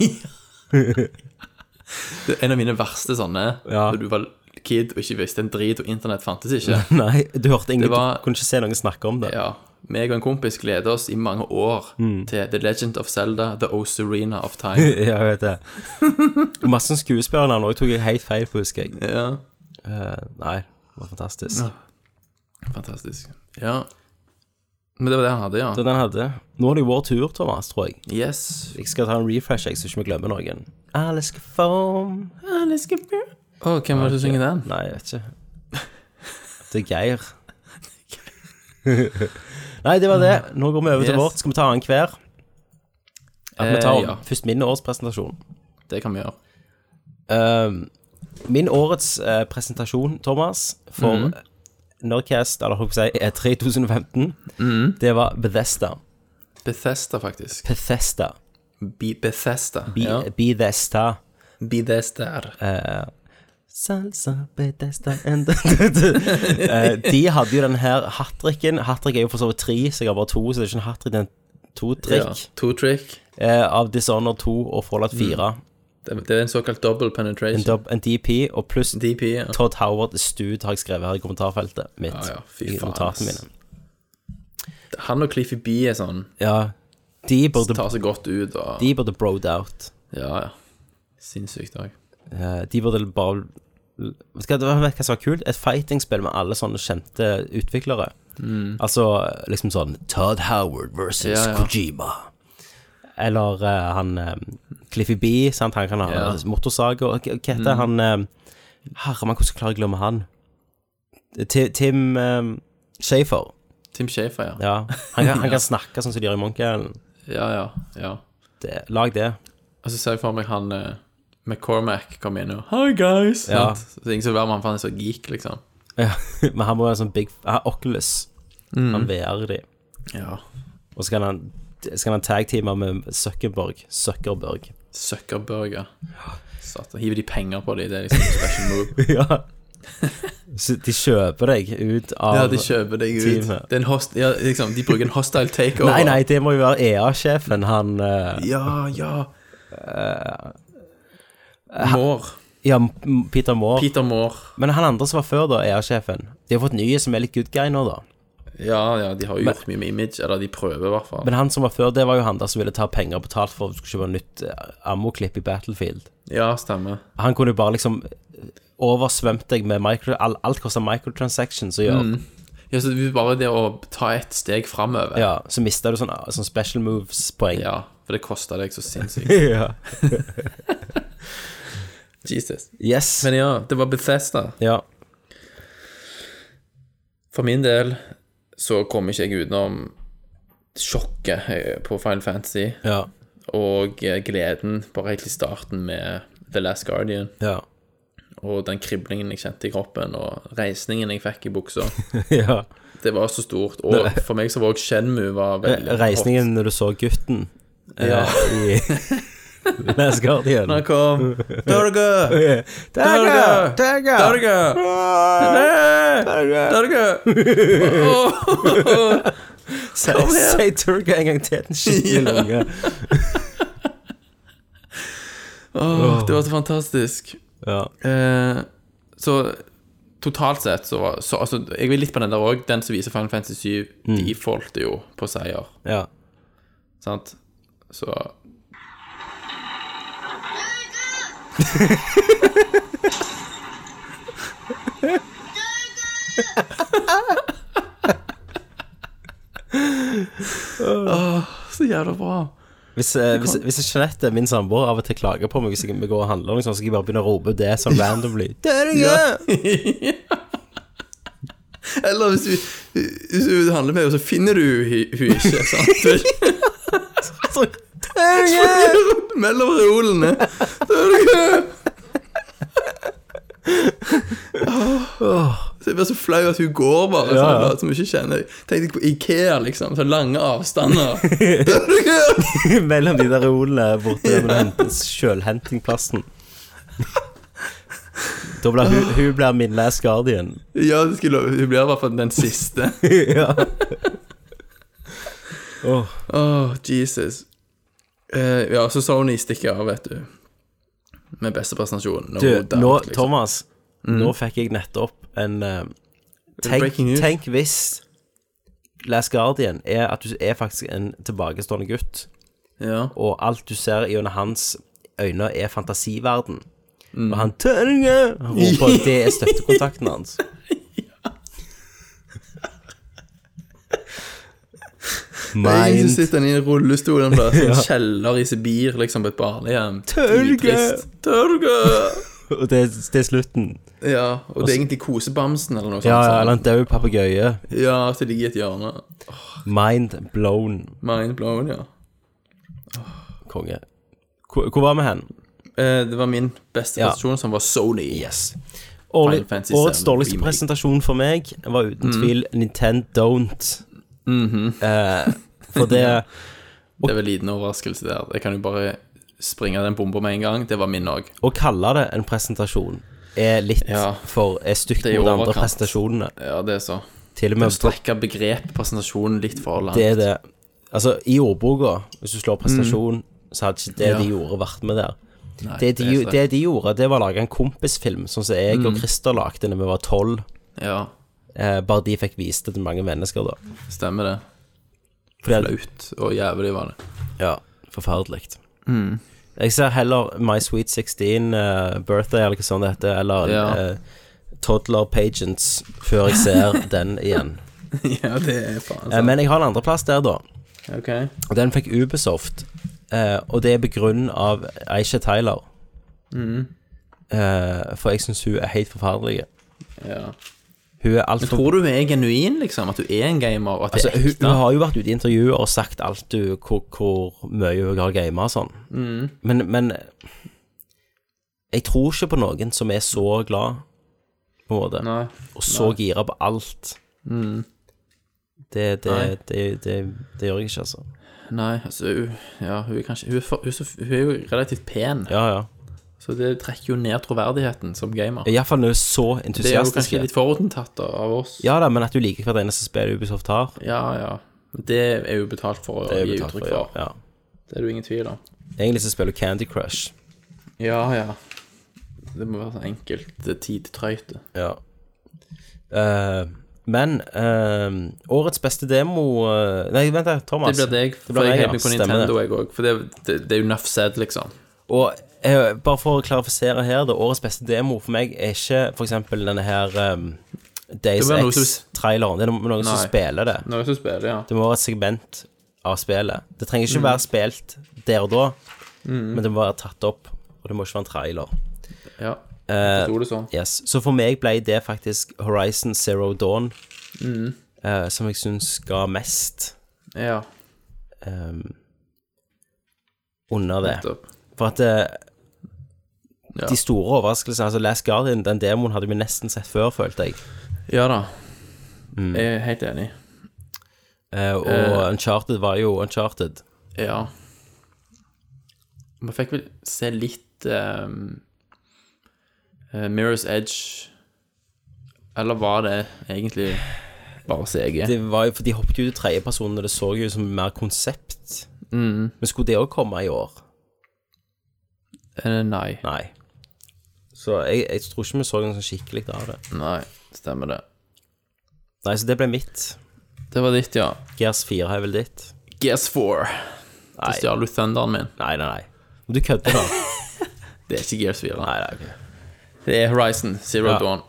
Det er en av mine verste sånne,
Ja.
da du var kid og ikke visste en drit, og internett fantes ikke.
Nei, du hørte ingen,
Det var-
du kunne ikke se noen snakke om det.
Ja. Meg og en kompis gleder oss i mange år
Mm.
til The Legend of Zelda, The Ozerina of Time.
Ja, jeg vet det. Og masse skuespillernavn òg tok jeg helt feil på, husker jeg.
Ja,
Eh, nei, det var fantastisk.
fantastisk. Ja. Men det var det han hadde, ja.
Så den hadde Nå er det jo vår tur, Thomas, tror jeg.
Yes.
Jeg skal ta en refresh, jeg, så ikke vi glemmer noen. Alle skal form
Å, hvem var det som synger den?
Nei, jeg vet ikke. Det er Geir. Nei, det var det. Nå går vi over til
Yes.
vårt. Skal vi ta annenhver? At vi tar
Eh, ja.
først min årspresentasjon.
Det kan vi gjøre.
Ehm, min årets eh, presentasjon, Thomas, for
Mhm.
Nerdcast, eller hva skal jeg si, E E3 2015,
Mhm.
det var Bethesda.
Bethesda, faktisk.
Bethesda.
Be Bethesda.
Be
ja.
Bethesda.
Bethesda.
Salsa, Bethesda and Eh, De hadde jo den her hattrikken. Hattrikk er jo for så vidt tre, så jeg har bare to. Så det er ikke en hattrikk, det er en to-trikk
Ja. Mm, To trick.
eh, av Dishonored 2 og Fallout 4.
Det, det er en såkalt double
En,
penetration.
dub, en DP og pluss
DP, ja.
Todd Howard Stud har jeg skrevet her i kommentarfeltet mitt.
Ja, ja, fy
I
faen,
notatene
ass.
mine.
Han og Cliffy B er sånn
Ja, de burde,
Tar seg godt ut og
de burde broed out.
Ja, ja. Sinnssykt òg.
Eh, De burde bare Vet du hva, det var- vet du hva som var kult? Et fightingspill med alle sånne kjente utviklere. Altså liksom sånn Todd Howard versus
Mm. Ja, ja.
Kojima. Eller eh, han eh, Cliffy B, sant? han kan ha
Ja. Mm.
motorsag og Hva hva heter han um, Herremann, hvordan klarer jeg å glemme han? Eh, Ti- Tim um, Shafer.
Tim Shafer, ja.
Ja. Han, kan- han kan snakke sånn som de gjør i Monkey Island.
Ja, ja. ja.
Det- Lag det.
Og så ser jeg for meg han eh, McCormack kom inn og Hi, guys!
Ja.
Sant? Så det er ingen som vil være med han, for han er så geek, liksom.
Ja. Men han må være en sånn big ah, Oculus.
Mm.
Han VR de.
Ja.
Og så kan han, så kan han tag-teame med Zuckerberg. Zuckerberg.
Suckerburger. Satan. Hiver de penger på det, det er liksom en special move.
ja. Så de kjøper deg ut av
Ja, de kjøper deg ut.
Teamet.
Det er en host, ja, liksom, de bruker en hostile takeover.
Nei, nei, det må jo være EA-sjefen, han eh,
Ja, ja. Moore.
Ja, M- Peter Moore.
Peter Moore.
Men han andre som var før, da, EA-sjefen De har fått nye som er litt good guy nå, da.
Ja, ja, de har jo gjort mye med image, eller de prøver i hvert fall.
Men han som var før, det var jo han der som ville ta penger betalt for å skulle kjøpe nytt eh, ammoklipp i Battlefield.
ja, stemmer.
Han kunne jo bare liksom oversvømt deg med micro... All, alt koster microtransactions å gjøre.
Mm. Ja, så det er bare det å ta et steg framover.
Ja, så mista du sånn, sånn special moves-poeng.
Ja, for det kosta deg så sinnssykt.
Ja.
Jesus.
Yes.
Men ja, det var Bethesda.
ja.
For min del så kom ikke jeg utenom sjokket eh, på Final Fantasy
Ja.
og eh, gleden bare helt i starten med The Last Guardian
Ja.
og den kriblingen jeg kjente i kroppen og reisningen jeg fikk i buksa.
ja.
Det var så stort. Og for meg så var også Shenmue var veldig
Reisningen Eh, når du så gutten.
hot.
ja. i Last Guardian.
Han kom. Dørge!
Dagger! Dagger!
Dørge! Dørge!
Si Turga en gang til, den skitne unge.
Åh, Det var så fantastisk.
Ja.
Eh, så totalt sett så var så, altså, Jeg vil litt på den der òg. Den som viser Final Fantasy 7, de falt jo på seier.
ja.
Sant? Så Åh, så jævla bra.
Hvis, eh, hvis, hvis Jeanette, min samboer, av og til klager på meg hvis jeg vi går og handler, og noe sånt, så skal jeg bare begynne å rope det sånn randomly. Dagger!
Eller hvis du, hvis du handler med henne, så finner du henne ikke. sant?
Dagger!
Mellom reolene. Så er det gøy. Så jeg blir så flau at hun går, bare. Ja,
Ja, ja.
Sånn, som hun ikke kjenner. Tenk deg på Ikea, liksom. Så lange avstander. Så er det gøy.
Mellom de der rolene borte der med den sjølhentingplassen. Da blir hun, hun blir min last guardian.
ja, det skulle, hun blir i hvert fall den siste.
ja. Åh,
Åh, Jesus. Eh, ja, så Sony stikker av, vet du. Med beste presentasjon. No
du,
doubt,
nå,
liksom.
Thomas, nå fikk jeg nettopp en eh, tenk,
Breaking news.
tenk hvis Last Guardian er at du er faktisk en tilbakestående gutt,
Ja.
og alt du ser gjennom hans øyne, er fantasiverden. Og han tørre, roper det er støttekontakten hans.
Nei, så
Mind
sitter han i en rullestol en plass, i en kjeller i Sibir, liksom, på et barnehjem.
Tørge!
Dritrist. Tørge!
Og det, det er slutten.
Ja, og det er egentlig kosebamsen eller noe sånt.
Altså- Ja, ja,
sånn.
eller en død papegøye.
ja så ligger i et hjørne.
Mind blown,
Mind blown, ja.
konge. Hvor, hvor var vi hen?
Eh, det var min beste
Ja.
presentasjon, som var Sony.
Yes. Årlig,
Final Fantasy
årets
7
dårligste
remake.
presentasjon for meg var uten tvil Nintendo Don't. eh, for det
Det var en liten overraskelse der. Jeg kan jo bare springe den bomba med en gang. Det var min òg.
å kalle det en presentasjon er litt
Ja.
for Er stygt
Det er i
mot de andre
overkant.
presentasjonene.
Ja, det er så.
Til og
Å
med
strekke begrepet presentasjon litt for langt.
det er det Altså, i ordboka, hvis du slår presentasjon, så hadde ikke det
Mm. Ja.
de gjorde, vært med der.
Nei,
Det de,
er så- Mm.
det de gjorde, det var å lage en kompisfilm, sånn som jeg og Christer lagde da vi var tolv.
Ja,
Eh, bare de fikk vist det til mange mennesker, da.
stemmer det.
Fordi,
Flaut og jævlig var det.
ja, forferdelig.
Mm.
Jeg ser heller My Sweet 16 eh, Birthday, eller hva sånt det heter, eller
Ja.
eh, Toddler Pagents, før jeg ser den igjen.
ja, det er faen
Eh, men jeg har en andreplass der, da.
Ok.
Og Den fikk Ubisoft, eh, og det er på grunn av Aisha Tyler.
Mm.
Eh, for jeg syns hun er helt forferdelig.
Ja.
Hun er altfor
Tror du hun er genuin, liksom? At du er en gamer? Og at
Altså,
det er
hun,
ekte?
hun har jo vært ute i intervjuer og sagt alt du, hvor, hvor mye hun har gamet og sånn.
Mm.
Men, men jeg tror ikke på noen som er så glad, på en måte,
Nei. Mm.
og så gira på alt. Det, det,
Nei.
det, det, det, gjør jeg ikke, altså.
Nei, altså hun, ja, hun er kanskje hun er, for, hun, er så, hun er jo relativt pen,
Ja, ja.
så det trekker jo ned troverdigheten som gamer.
Iallfall når hun er så
Det er jo
entusiastisk.
kanskje litt forutinntatt da, av oss.
Ja da, men at du liker hvert eneste spill Ubisoft har.
ja. ja. Men Det er jo betalt for å
Det er
gi
betalt
uttrykk
for.
for.
Ja. Ja.
Det er det jo ingen tvil om.
Egentlig så spiller du Candy Crush.
Ja, ja. Det må være så enkelt eh, tidtrøyte.
Ja. Eh, men eh, årets beste demo eh, Nei, vent, da, Thomas.
Altså, Det blir deg,
Det
for
blir
jeg
meg,
heier
ja.
på
Stemmer
Nintendo,
det.
jeg òg. For det, det, det er jo nuff said, liksom.
Og eh, bare for å klarifisere her, da. Årets beste demo for meg er ikke f.eks. denne her um, Days
Det var noe som-
X-traileren. Det er noen som
Nei.
spiller det.
Noen som spiller, ja.
Det må være et segment av spillet. Det trenger
Mm.
ikke være spilt der og da, men det må være tatt opp. Og det må ikke være en trailer.
ja.
Eh,
Forsto det sånn.
Yes. Så for meg ble det faktisk Horizon Zero Dawn,
Mm.
eh, som jeg syns ga mest
Ja,
eh, under det.
nettopp.
For at eh,
Ja.
De store overraskelsene Altså Last Guardian, den demoen hadde vi nesten sett før, følte jeg.
Ja da. Jeg er helt enig. Eh.
Eh, og Uncharted var jo Uncharted.
Ja. Man fikk vel se litt ehm, eh, Mirror's Edge Eller var det egentlig bare CG?
Det var jo, for De hoppet jo ut i tredjeperson, og det så jo ut som mer konsept.
Mm.
Men skulle det òg komme i år?
Eh, nei.
Nei. Så jeg, jeg tror ikke vi så noe sånn skikkelig av det.
Nei, stemmer det.
Nei, så det ble mitt.
Det var ditt, ja.
Gears 4 er vel ditt?
Guess for. Da
Nei.
stjal du thunderen min.
Nei, nei, nei. Men Du kødder da.
Det er ikke Gears 4.
nei, nei, ok.
Det er Horizon Zero
Ja.
Dawn.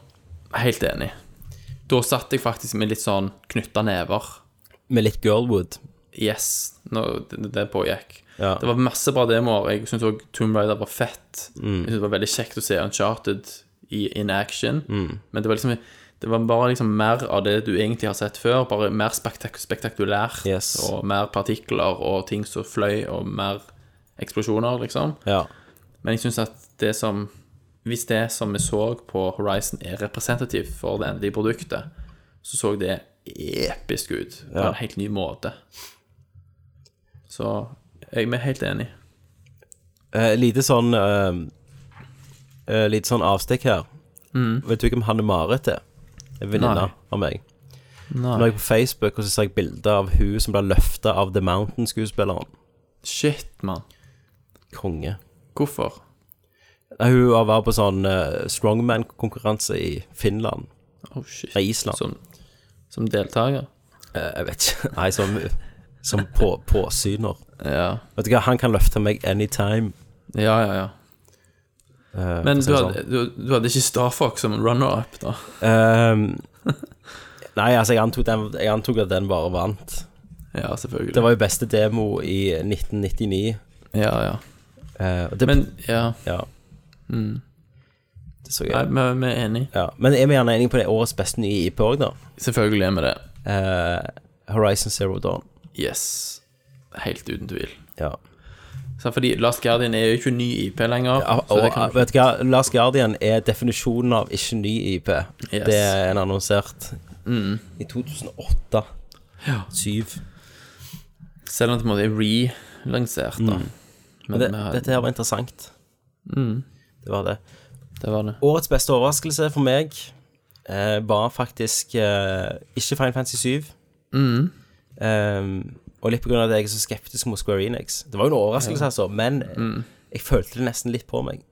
Helt enig. Da satt jeg faktisk med litt sånn knytta never.
Med litt girlwood.
Yes, når det, det pågikk.
Ja.
Det var masse bra demoer. Jeg syntes også Tomb Raider var fett.
Mm.
Jeg synes Det var veldig kjekt å se Uncharted i, in action.
Mm.
Men det var liksom det var bare liksom mer av det du egentlig har sett før. Bare mer spektak spektakulært.
Yes.
Og mer partikler og ting som fløy, og mer eksplosjoner, liksom.
Ja.
Men jeg syns at det som Hvis det som vi så på Horizon, er representativt for det endelige produktet, så så det episk ut på
Ja.
en helt ny måte. Så jeg er helt enig.
Eh, lite sånn eh, eh, Lite sånn avstikk her. Vet du hvem Hanne Marit er? En venninne
Nei.
av meg. Nå
Nei.
er jeg på Facebook, og så ser jeg bilder av hun som ble løfta av The Mountain-skuespilleren.
Shit, mann.
Konge.
Hvorfor?
Nei, hun var- var på sånn eh, strongman-konkurranse i Finland.
Oh, shit.
Nei, Island.
Som, som deltaker?
Eh, jeg vet ikke. Nei, som, som på, påsyner.
Ja.
Vet du hva, han kan løfte meg anytime.
Ja, ja, ja.
eh,
Men
for å
du
si det
hadde, du, du hadde ikke Star Fox som runner-up, da?
sånn. Eh, Nei, altså, jeg antok, den, jeg antok at den bare vant.
Ja, selvfølgelig.
Det var jo beste demo i 1999.
Ja, ja.
eh, og det,
Men ja,
ja. Det så
nei,
jeg.
vi vi er enig.
Ja. Men er vi gjerne enige på det årets beste nye IP òg, da?
Selvfølgelig er vi det.
Eh, Horizon Zero Dawn.
Yes. Helt uten tvil.
Ja.
Sant, fordi Last Guardian er jo ikke ny IP lenger.
Ja,
så
og eh,
det kan,
vet du hva, Last Guardian er definisjonen av ikke ny IP.
Yes. Mm.
Det er en annonsert i 2008.
Ja.
7.
selv om det på en måte er relansert, da.
Mm.
Men
Men det,
vi har- Mm.
dette her var interessant. Det var det.
det var det.
Årets beste overraskelse for meg eh, var faktisk eh, ikke Final Fantasy 7. Ehm, og litt på grunn av at jeg er så skeptisk mot Square Enix. Det var jo en overraskelse, altså, men jeg følte det nesten litt på meg.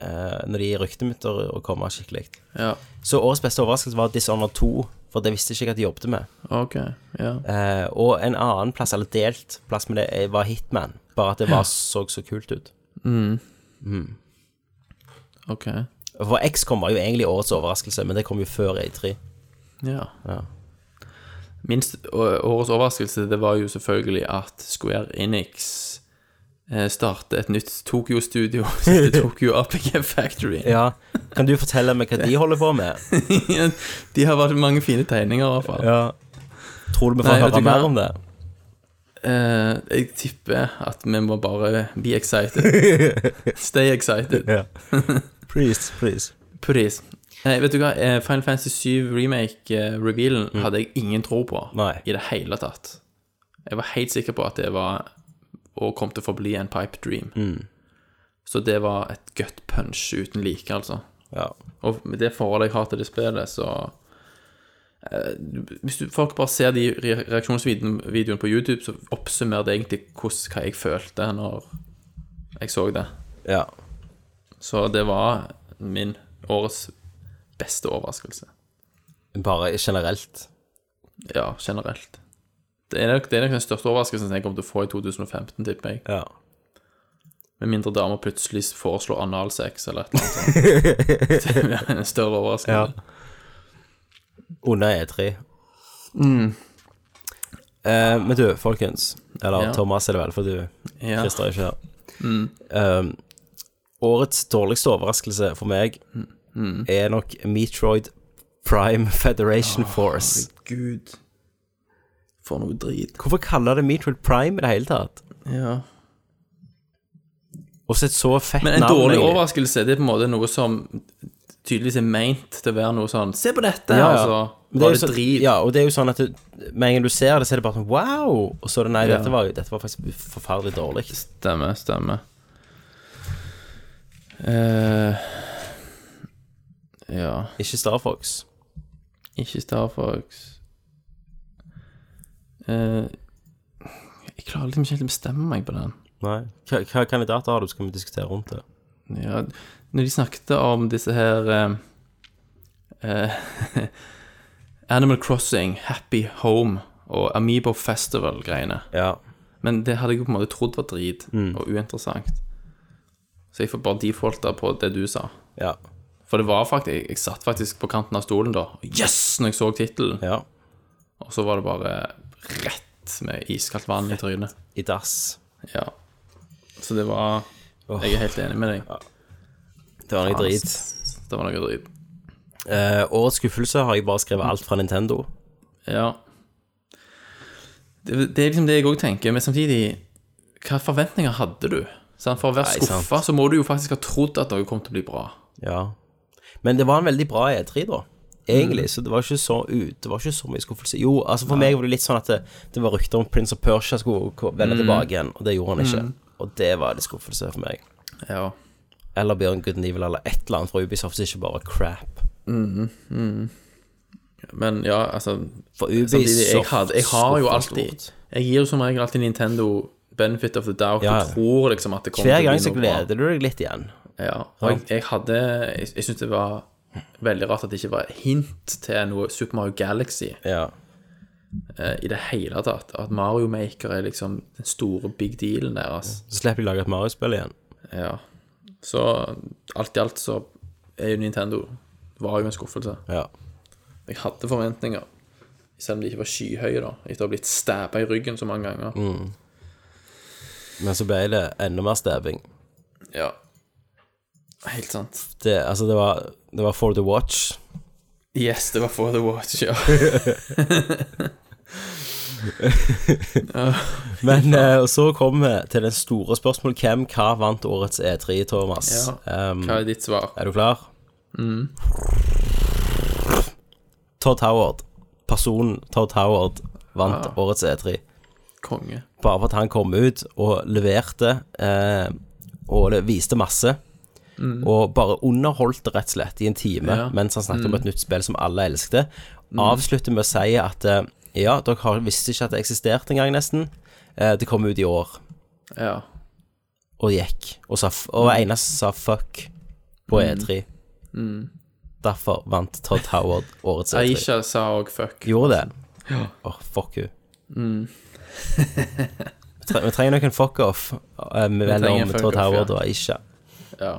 Eh, når de ryktet mitt å å komme skikkelig.
Ja,
Så årets beste overraskelse var Dishonored 2, for det visste ikke jeg at de jobbet med.
OK. Ja.
Eh, og en annen plass, eller delt plass med det, eh, var Hitman. Bare at det var, så så kult ut.
OK.
For XCOM var jo egentlig årets overraskelse, men det kom jo før E3.
Ja.
Ja.
Minst å- årets overraskelse, det var jo selvfølgelig at Square Enix eh, startet et nytt Tokyo-studio. som heter Tokyo RPG Factory.
Ja. Kan du fortelle meg hva de holder på med?
De har vært mange fine tegninger, i hvert fall.
Ja. Tror du vi får
Nei, vet
høre
du hva?
mer om det?
Eh, jeg tipper at vi må bare be excited. Stay excited.
Ja. please, please.
Please. Nei, vet du hva? Eh, Final Fantasy 7 remake-revealen hadde jeg ingen tro på
Nei.
i det hele tatt. Jeg var helt sikker på at det var og kom til å forbli en pipe dream. Så det var et gut punch uten like, altså.
Ja.
Og med det forholdet jeg har til det spillet, så eh, Hvis du, folk bare ser de re- reaksjonsvideoene på YouTube, så oppsummerer det egentlig hvordan, hva jeg følte når jeg så det.
ja.
Så det var min årets beste overraskelse.
Bare generelt.
Ja, generelt. Det er nok, det er nok den største overraskelsen jeg kommer til å få i 2015, tipper jeg.
Ja.
Med mindre damer plutselig foreslår analsex eller et eller annet sånt. Det er en større overraskelse.
Under E3.
Mm.
Eh, men du, folkens. Eller
Ja.
Thomas er det vel, for du
Ja. Mm.
Christer er ikke her. Eh, årets dårligste overraskelse for meg
Mm.
er nok Metroid Prime Federation Force.
Gud. For noe drit.
Hvorfor kaller det Metroid Prime i det hele tatt?
Ja.
Og så et så fett
Men en
navn.
dårlig
egentlig.
overraskelse, det er på en måte noe som tydeligvis er meint til å være noe sånn Se på dette!
Ja, ja.
Og så
Men det er
var
jo
det
så-
drit.
Ja, og det er jo sånn at det, med en gang du ser det, så er det bare sånn wow! Og så er det nei,
Ja.
dette, var, dette var faktisk forferdelig dårlig.
Stemmer, stemmer. Eh, ja
Ikke Star Fox.
Ikke Star Fox. Eh, jeg klarer liksom ikke helt å bestemme meg på den.
Nei. Hva, hva kandidater har du, så kan vi diskutere rundt det.
Ja, når de snakket om disse her eh, eh, Animal Crossing, Happy Home og Amiibo Festival-greiene.
Ja.
Men det hadde jeg jo på en måte trodd var drit og uinteressant. Så jeg får bare defaulta på det du sa.
Ja.
For det var faktisk Jeg, jeg satt faktisk på kanten av stolen da. Yes! Når jeg så tittelen.
ja.
Og så var det bare rett med iskaldt vann i trynet.
I dass.
Ja. Så det var Jeg er helt enig med deg.
Det var noe drit.
Det var noe drit.
Eh, årets skuffelse har jeg bare skrevet alt fra Nintendo.
Ja. Det, det er liksom det jeg òg tenker, men samtidig Hva forventninger hadde du? Sant? For å være
Nei, sant.
skuffa så må du jo faktisk ha trodd at noe kom til å bli bra.
Ja. Men det var en veldig bra E3, da.
Mm.
Egentlig. Så det var ikke så ut. Det var ikke så mye skuffelse. Jo, altså for meg var det litt sånn at det, det var rykter om Prince of Persia skulle ko- vende
Mm.
tilbake igjen, og det gjorde han ikke. Og det var litt skuffelse for meg.
Ja.
Eller Bjørn Good and Evil eller et eller annet fra Ubisoft som ikke bare er crap.
Men ja, altså
For
Samtidig, jeg,
Ubisoft
hadde, jeg har jo
skuffer
alltid
stort.
Jeg gir jo som regel alltid Nintendo benefit of the doubt
Ja, ja.
og tror liksom at det kommer
Hver
til å
gang
bli
så
noe bra.
gleder du deg litt igjen.
Ja. Og jeg, jeg hadde Jeg, jeg syns det var veldig rart at det ikke var hint til noe Super Mario Galaxy
Ja.
eh, i det hele tatt. At Mario Maker er liksom den store big dealen deres.
Så slipper de lage et Mario-spill igjen.
Ja. Så alt i alt så er jo Nintendo var jo en skuffelse.
Ja.
Jeg hadde forventninger, selv om de ikke var skyhøye, da, etter å ha blitt stabba i ryggen så mange ganger.
Men så ble det enda mer stabbing.
Ja. Helt sant.
Det, altså, det var, det var For the Watch.
Yes, det var For the Watch, ja.
Men eh, og så kom vi til den store spørsmålet Hvem hva vant årets E3, Thomas?
Ja.
Um,
Hva Mm. er ditt svar?
er du klar? Todd Howard. Personen Todd Howard vant årets E3.
Konge.
Bare for at han kom ut og leverte eh, og det viste masse. Og bare underholdt det rett og slett i en time
Mm. Ja. Mm.
mens han snakket om et nytt spill som alle elskte. Avslutter med å si at eh, ja, dere har- visste ikke at det eksisterte engang, nesten. Eh, det kom ut i år.
Ja.
og gikk, og, sa, f- og
Mm.
var eneste som sa fuck på E3.
Mm.
Derfor vant Todd Howard årets E3.
Aisha sa òg fuck.
Gjorde det? Åh, fuck you.
Mm.
Vi tre- Vi trenger noen fuck off eh,
trenger
mellom
fuck
Todd
off,
Howard
ja.
og Aisha.
Ja.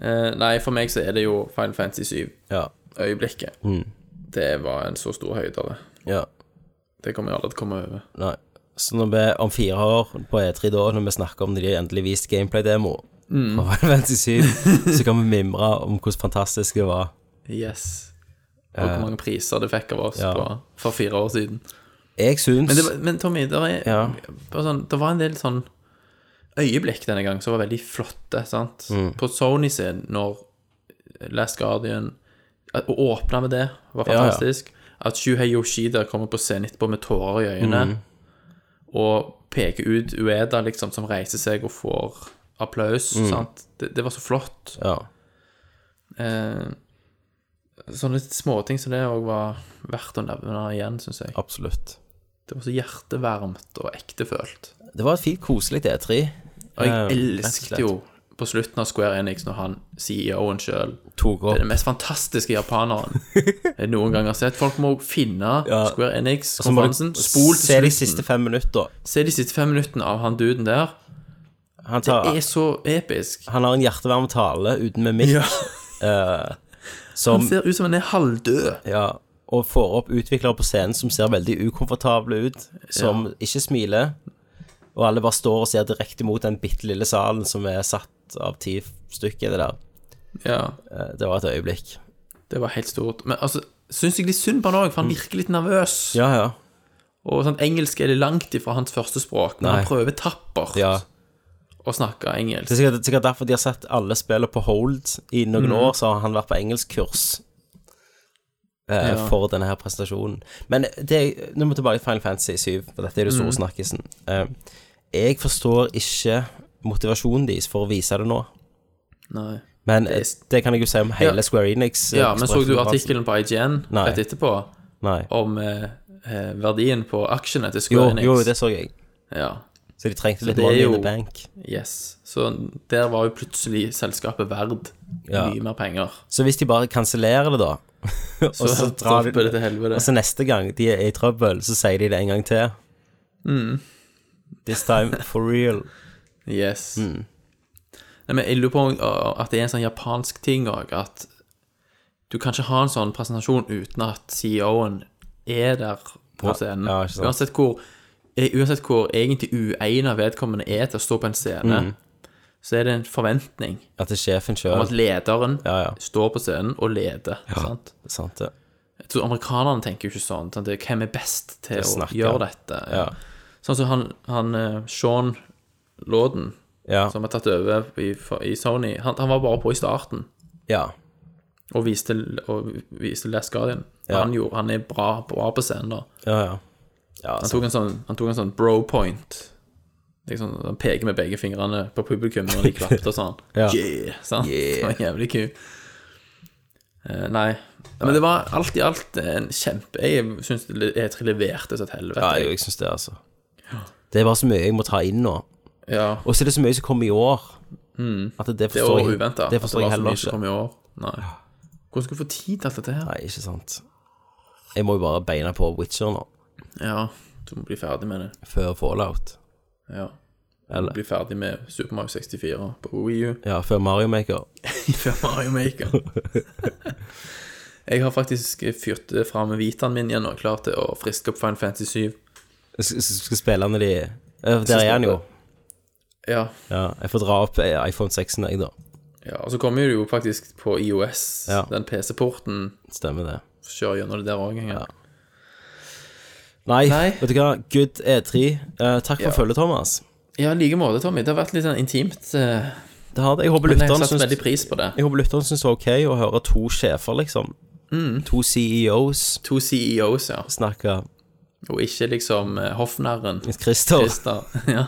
Eh, nei, for meg så er det jo Final Fantasy 7.
Ja.
Øyeblikket. Det var en så stor høydere.
ja.
Det kommer jeg aldri til å komme over.
Nei. Så når vi om fire år på E3 da, når vi snakker om det de endelig viste gameplay-demo
Mm.
fra Final Fantasy 7, så kan vi mimre om hvordan fantastisk det var.
Yes. Og hvor mange priser det fikk av oss
ja.
på, for fire år siden.
Jeg syns
Men, det, var- men Tommy, det, er,
Ja.
bare sånn, det var en del sånn øyeblikk denne gang som var veldig flotte, sant?
Mm.
På Sony sin, når Last Guardian at- Å åpne med det var
Ja, ja.
fantastisk. At Shuhei Yoshida kommer på scenen etterpå med tårer i øynene
Mm.
og peker ut Ueda, liksom, som reiser seg og får applaus,
Mm.
sant? Det, det var så flott.
ja.
Eh, sånne småting som det òg var verdt å nevne igjen, syns jeg.
Absolutt.
Det var så hjertevarmt og ektefølt.
Det var et fint, koselig E3.
Og jeg
Eh, rett og slett.
elsket jo på slutten av Square Enix når han, CEO-en sjøl
Tok
Det
opp
er den mest fantastiske japaneren jeg noen gang har sett. Folk må finne
Ja.
Square
Så må du
Enix-konferansen. Spol til
se de
slutten.
siste fem minutter.
Se de siste fem minuttene av han duden der.
Han, tar,
Det er så episk.
han har en hjertevarm tale uten mimikk som
Han ser ut som han er halvdød.
ja, Og får opp utviklere på scenen som ser veldig ukomfortable ut, som ikke smiler, og alle bare står og ser direkte mot den bitte lille salen som er satt av ti stykker. Det der
Ja,
Eh, Det var et øyeblikk.
det var helt stort. Men altså, syns jeg litt synd på han òg, for han virker litt nervøs.
Mm. Ja, ja.
Og sånn, engelsk er det langt ifra hans første språk, men
Nei.
han prøver tappert.
ja.
og snakke engelsk.
Det er sikkert, sikkert derfor de har sett alle spillene på hold i
Mm.
noen år, så har han vært på engelskkurs eh,
Ja.
for denne her presentasjonen. Men det, nå må vi tilbake til Final Fantasy 7, for dette er det
Mm.
store snakkisen. Eh, jeg forstår ikke motivasjonen deres for å vise det nå.
Nei.
Men eh, det kan jeg jo si om hele
Ja.
Square Enix. eh,
Ja, men så du
konferansen.
artikkelen på IGN
Nei.
rett etterpå
Nei.
om eh, eh, verdien på aksjene til
Jo,
Square Enix?
jo, det så jeg.
Ja.
Så de trengte litt
det er
money in
jo-
the bank.
Yes. Så der var jo plutselig selskapet verd
Ja.
mye mer penger.
Så hvis de bare kansellerer det, da,
Så,
og så drar de
dropper det til helvete.
Og så neste gang de er i trøbbel, så sier de det en gang til.
Mm.
This time for real.
Yes.
Mm.
Nei, men jeg lurer på om uh, at det er en sånn japansk ting òg, at du kan ikke ha en sånn presentasjon uten at CEO-en er der på
Ja,
scenen.
ja, ikke sant.
uansett, hvor, eh, uansett hvor egentlig uegna vedkommende er til å stå på en scene,
Mm.
så er det en forventning
At det er sjefen
om
sjøl.
at lederen
Ja, ja.
står på scenen og leder. sant?
Sant det.
Jeg tror Amerikanerne tenker jo ikke sånn. sant? Det er hvem er best til å
snakke.
gjøre dette?
Ja.
Sånn som han, han eh, Sean Lawden
Ja.
som har tatt over i, for- i Sony, han, han var bare på i starten
ja.
og viste, og viste Last Guardian.
Ja.
Han, gjorde, han er bra, bra på scenen da.
Ja, ja. ja altså.
Han
sant.
tok en sånn, han tok en sånn bro point. Liksom, han peker med begge fingrene på publikum når de klapper og sånn.
Ja.
Yeah! Sant? Det var jævlig kul. Eh, nei. Men det var alt i alt en kjempe Jeg syns E3 leverte som et helvete.
ja, jeg, jeg syns det, altså. Det er bare så mye jeg må ta inn nå.
ja.
Og så er det så mye som kommer i år. At det,
Mm. Det
det forstår
var
jeg,
uventa.
det forstår jeg heller
ikke.
ikke.
Kom i år. Nei. Hvordan skal du få tid til alt dette her?
Nei, ikke sant. Jeg må jo bare beina på Witcher nå,
Ja, du må bli ferdig med det.
før Fallout.
Ja.
Eller
Bli ferdig med Super Mario 64 på Wii U
ja, før Mario Maker.
før Mario Maker. jeg har faktisk fyrt fram Vitaen min igjen og er klar til å friske opp Final Fantasy 7.
Jeg Skal, skal skal spille når de Eh, Der er han jo.
Ja.
Ja, jeg får dra opp eh, iPhone 6-en, jeg, da.
ja. Og så kommer det jo faktisk på IOS,
Ja.
den PC-porten.
Stemmer det.
Kjør gjennom det der òg en gang.
Ja. Nei,
Nei.
vet du hva. Good E3. Eh, takk for
Ja.
følget, Thomas.
Ja, i like måte, Tommy. Det har vært litt sånn intimt. eh,
Det har det. Jeg håper
Men jeg
lytteren
setter
syns
veldig pris på det.
jeg håper lytteren syns det var ok å høre to sjefer, liksom. To CEOs
To CEOs, ja.
snakke.
Og ikke liksom eh, hoffnarren.
Christer.
Christer. Ja.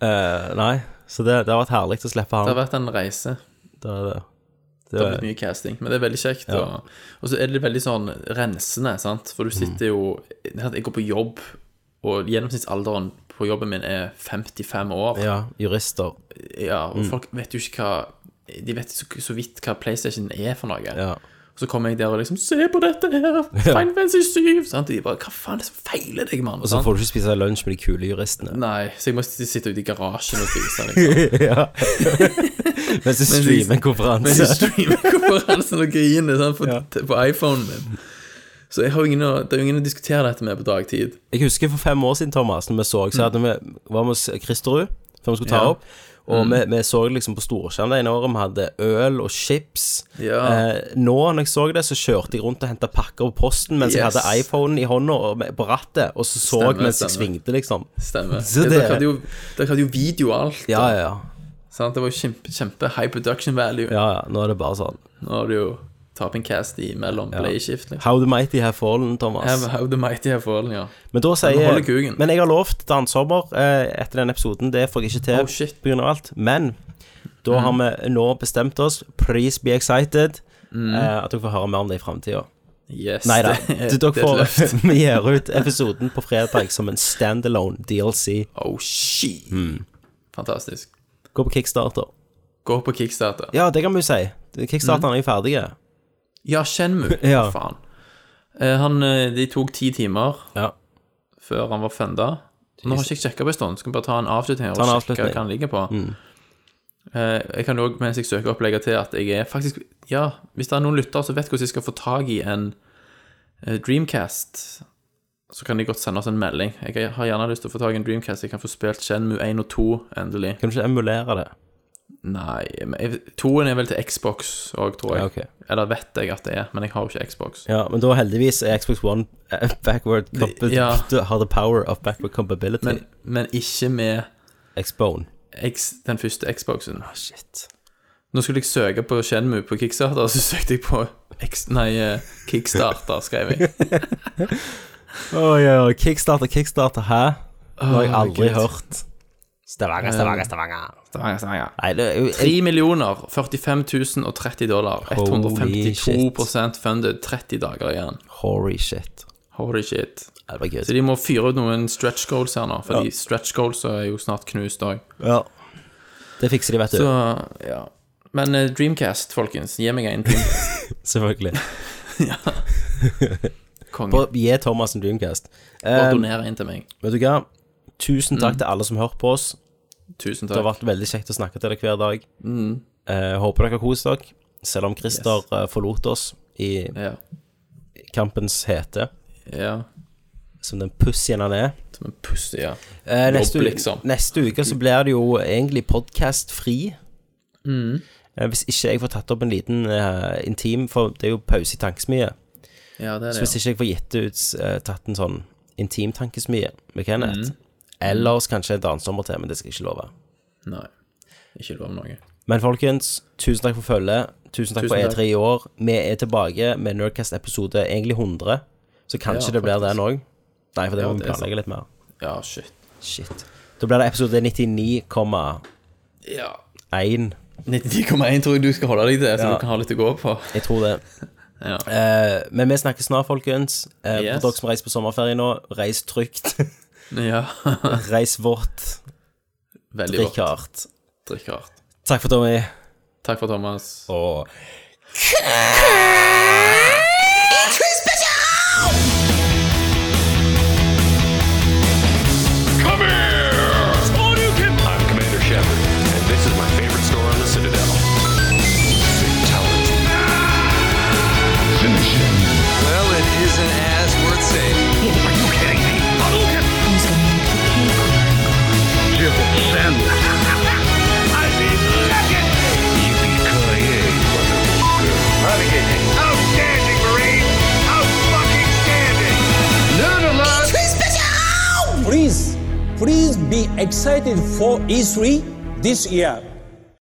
Eh, nei, så det, det har vært herlig å slippe
Det har
han.
vært en reise.
Det er det.
Det
Det,
har blitt mye casting, men det er veldig kjekt. Og, og så er det veldig sånn rensende, sant. For du sitter jo Jeg går på jobb, og gjennomsnittsalderen på jobben min er 55 år.
ja, Mm. jurister.
Ja, og folk vet jo ikke hva De vet så, så vidt hva PlayStation er for noe.
Ja.
Og så kommer jeg der og liksom Se på dette her! Final Fantasy 7! Sant? Og de bare Hva faen er det som feiler deg, mann?
Og så får du ikke spise lunsj med de kule juristene.
Nei, så jeg må sitte ute i garasjen og spise, liksom.
ja. Mens du streamer
Mens
en
jeg
konferanse.
streamer konferansen og griner sant, på, på iPhonen min. Så jeg har jo ingen å, det er jo ingen å diskutere dette med på dagtid.
Jeg husker for fem år siden, Thomas, når vi så, så hadde vi, var vi hos Kristerud før vi skulle ta
Ja. Mm.
opp. Og vi, vi så liksom på Storsjøen det ene året vi hadde øl og chips.
Ja.
Eh, nå når jeg så det, så kjørte jeg rundt og henta pakker på posten mens jeg
Yes.
hadde iPhonen i hånda og med- på rattet, og så så
Stemmer,
jeg mens jeg
stemmer.
svingte, liksom.
Stemmer.
Så
Ja,
det-
Dere hadde, jo- dere hadde jo video og alt.
Ja, ja, ja.
Sant? Det var jo kjempe, kjempe high production value.
ja, ja. Nå er det bare sånn.
Nå har du jo taping cast i mellom playskift. Liksom.
How the mighty have fallen, Thomas.
Have, have the mighty have fallen, ja.
Men da sier
holder kuken.
Men jeg har lovt dansommer eh, etter den episoden. Det får jeg ikke til
Oh, shit. Mm.
på grunn av alt. Men da har vi nå bestemt oss. Please be excited. Eh, at dere får høre mer om det i framtida.
Yes.
Nei da.
Mm. det er-
Dere
det er et løft.
får Vi gir ut episoden på fredag som en standalone DLC.
Oh, shit.
Hmm.
Fantastisk.
Gå på kickstarter.
Gå på kickstarter.
Ja, det kan vi jo si. Kickstarterne er jo ferdige.
Ja, Shenmue.
Ja.
Faen. Eh, Han, eh, de tok ti timer
Ja.
før han var funda. Nå har ikke jeg sjekka på en stund. Skal vi bare ta en avslutning her
en
og sjekke
avslutning. Mm.
hva han ligger på? Eh, Jeg kan jo også, mens jeg søker opp, legge til at jeg er faktisk Ja, hvis det er noen lyttere som vet hvordan de skal få tak i en eh, Dreamcast, så kan de godt sende oss en melding. Jeg har gjerne lyst til å få tak i en Dreamcast. Jeg kan få spilt Shenmue 1 og 2, endelig.
Kan du ikke emulere det?
Nei men jeg- Toen er vel til Xbox òg, tror jeg.
Ja, ok.
Eller vet jeg at det er, men jeg har jo ikke Xbox.
Ja, men da heldigvis er Xbox One eh, backward compa-
Ja.
har the power of backward compatibility.
Men, men ikke med
Xbone.
X, den første Xboxen.
Shit.
Nå skulle jeg søke på Shenmue på Kickstarter, så søkte jeg på X, nei, eh, Kickstarter, skrev jeg.
Kickstarter, kickstarter, hæ? Det har jeg aldri
Herregud.
hørt. Stavanger, Stavanger, Stavanger.
Stavanger, Stavanger.
Nei, det er jo
3 millioner, 45 030 dollar.
Holy
152 funded, 30 dager igjen.
Holy shit.
Holy shit.
Nei, Det var
Så
gøy.
de må fyre ut noen stretch goals her nå, fordi stretch goals er jo snart knust òg.
Ja. Det fikser de, vet du.
Så, ja. Men eh, Dreamcast, folkens. Gi meg en Dreamcast.
Selvfølgelig.
Konge.
Bare gi Thomas en Dreamcast.
Bare
Eh,
doner en til meg.
vet du hva? Tusen takk til alle som hørte på oss.
Tusen
Det har
takk.
vært veldig kjekt å snakke til dere hver dag. Eh, håper dere har kost dere, selv om Christer
Yes.
eh, forlot oss i
Ja.
kampens hete,
ja.
som den pussien han er.
Som en pussy, ja.
Eh, neste,
Jobb,
u-
liksom.
neste uke så blir det jo egentlig podkast-fri.
Mm.
Eh, hvis ikke jeg får tatt opp en liten eh, intim, for det er jo pause i tankesmie.
Ja, det er
Så
det.
hvis ikke jeg får gitt ut eh, tatt en sånn intimtankesmie med Kenneth,
Mm.
ellers kanskje et annet sommertema, men det skal jeg ikke love.
ja. Nei. Ikke lov med noe.
Men folkens, tusen takk for følget. Tusen takk
Tusen
for
takk.
E3 i år. Vi er tilbake med Nerdcast episode egentlig 100, så kanskje
Ja,
det blir
faktisk.
den òg. Nei, for det
Ja,
må vi
det er sant.
planlegge litt mer.
Ja, shit.
Shit. Da blir det episode 99,1.
Ja. 99,1 tror jeg du skal holde deg til, så du kan ha litt å gå på.
Jeg tror det.
Ja.
Eh, men vi snakkes snart, folkens. Eh,
Yes.
For dere som reiser på sommerferie nå, reis trygt.
Ja.
reis vått.
Veldig
Drikk
godt.
hardt.
Drikk hardt.
Takk for Tommy.
Takk for Thomas.
Og
Come here! I'm Commander Shepard, and this is my favorite store on the Citadel.
Well, it isn't as worth saying.
Are you kidding me? Hadouken! Civil sandwich. I mean, legacy! Yippee-ki-yay, motherfucker. Outstanding, Marine! Out-fucking-standing!
Please, bitch, ow!
Please, please be excited for E3 E this year.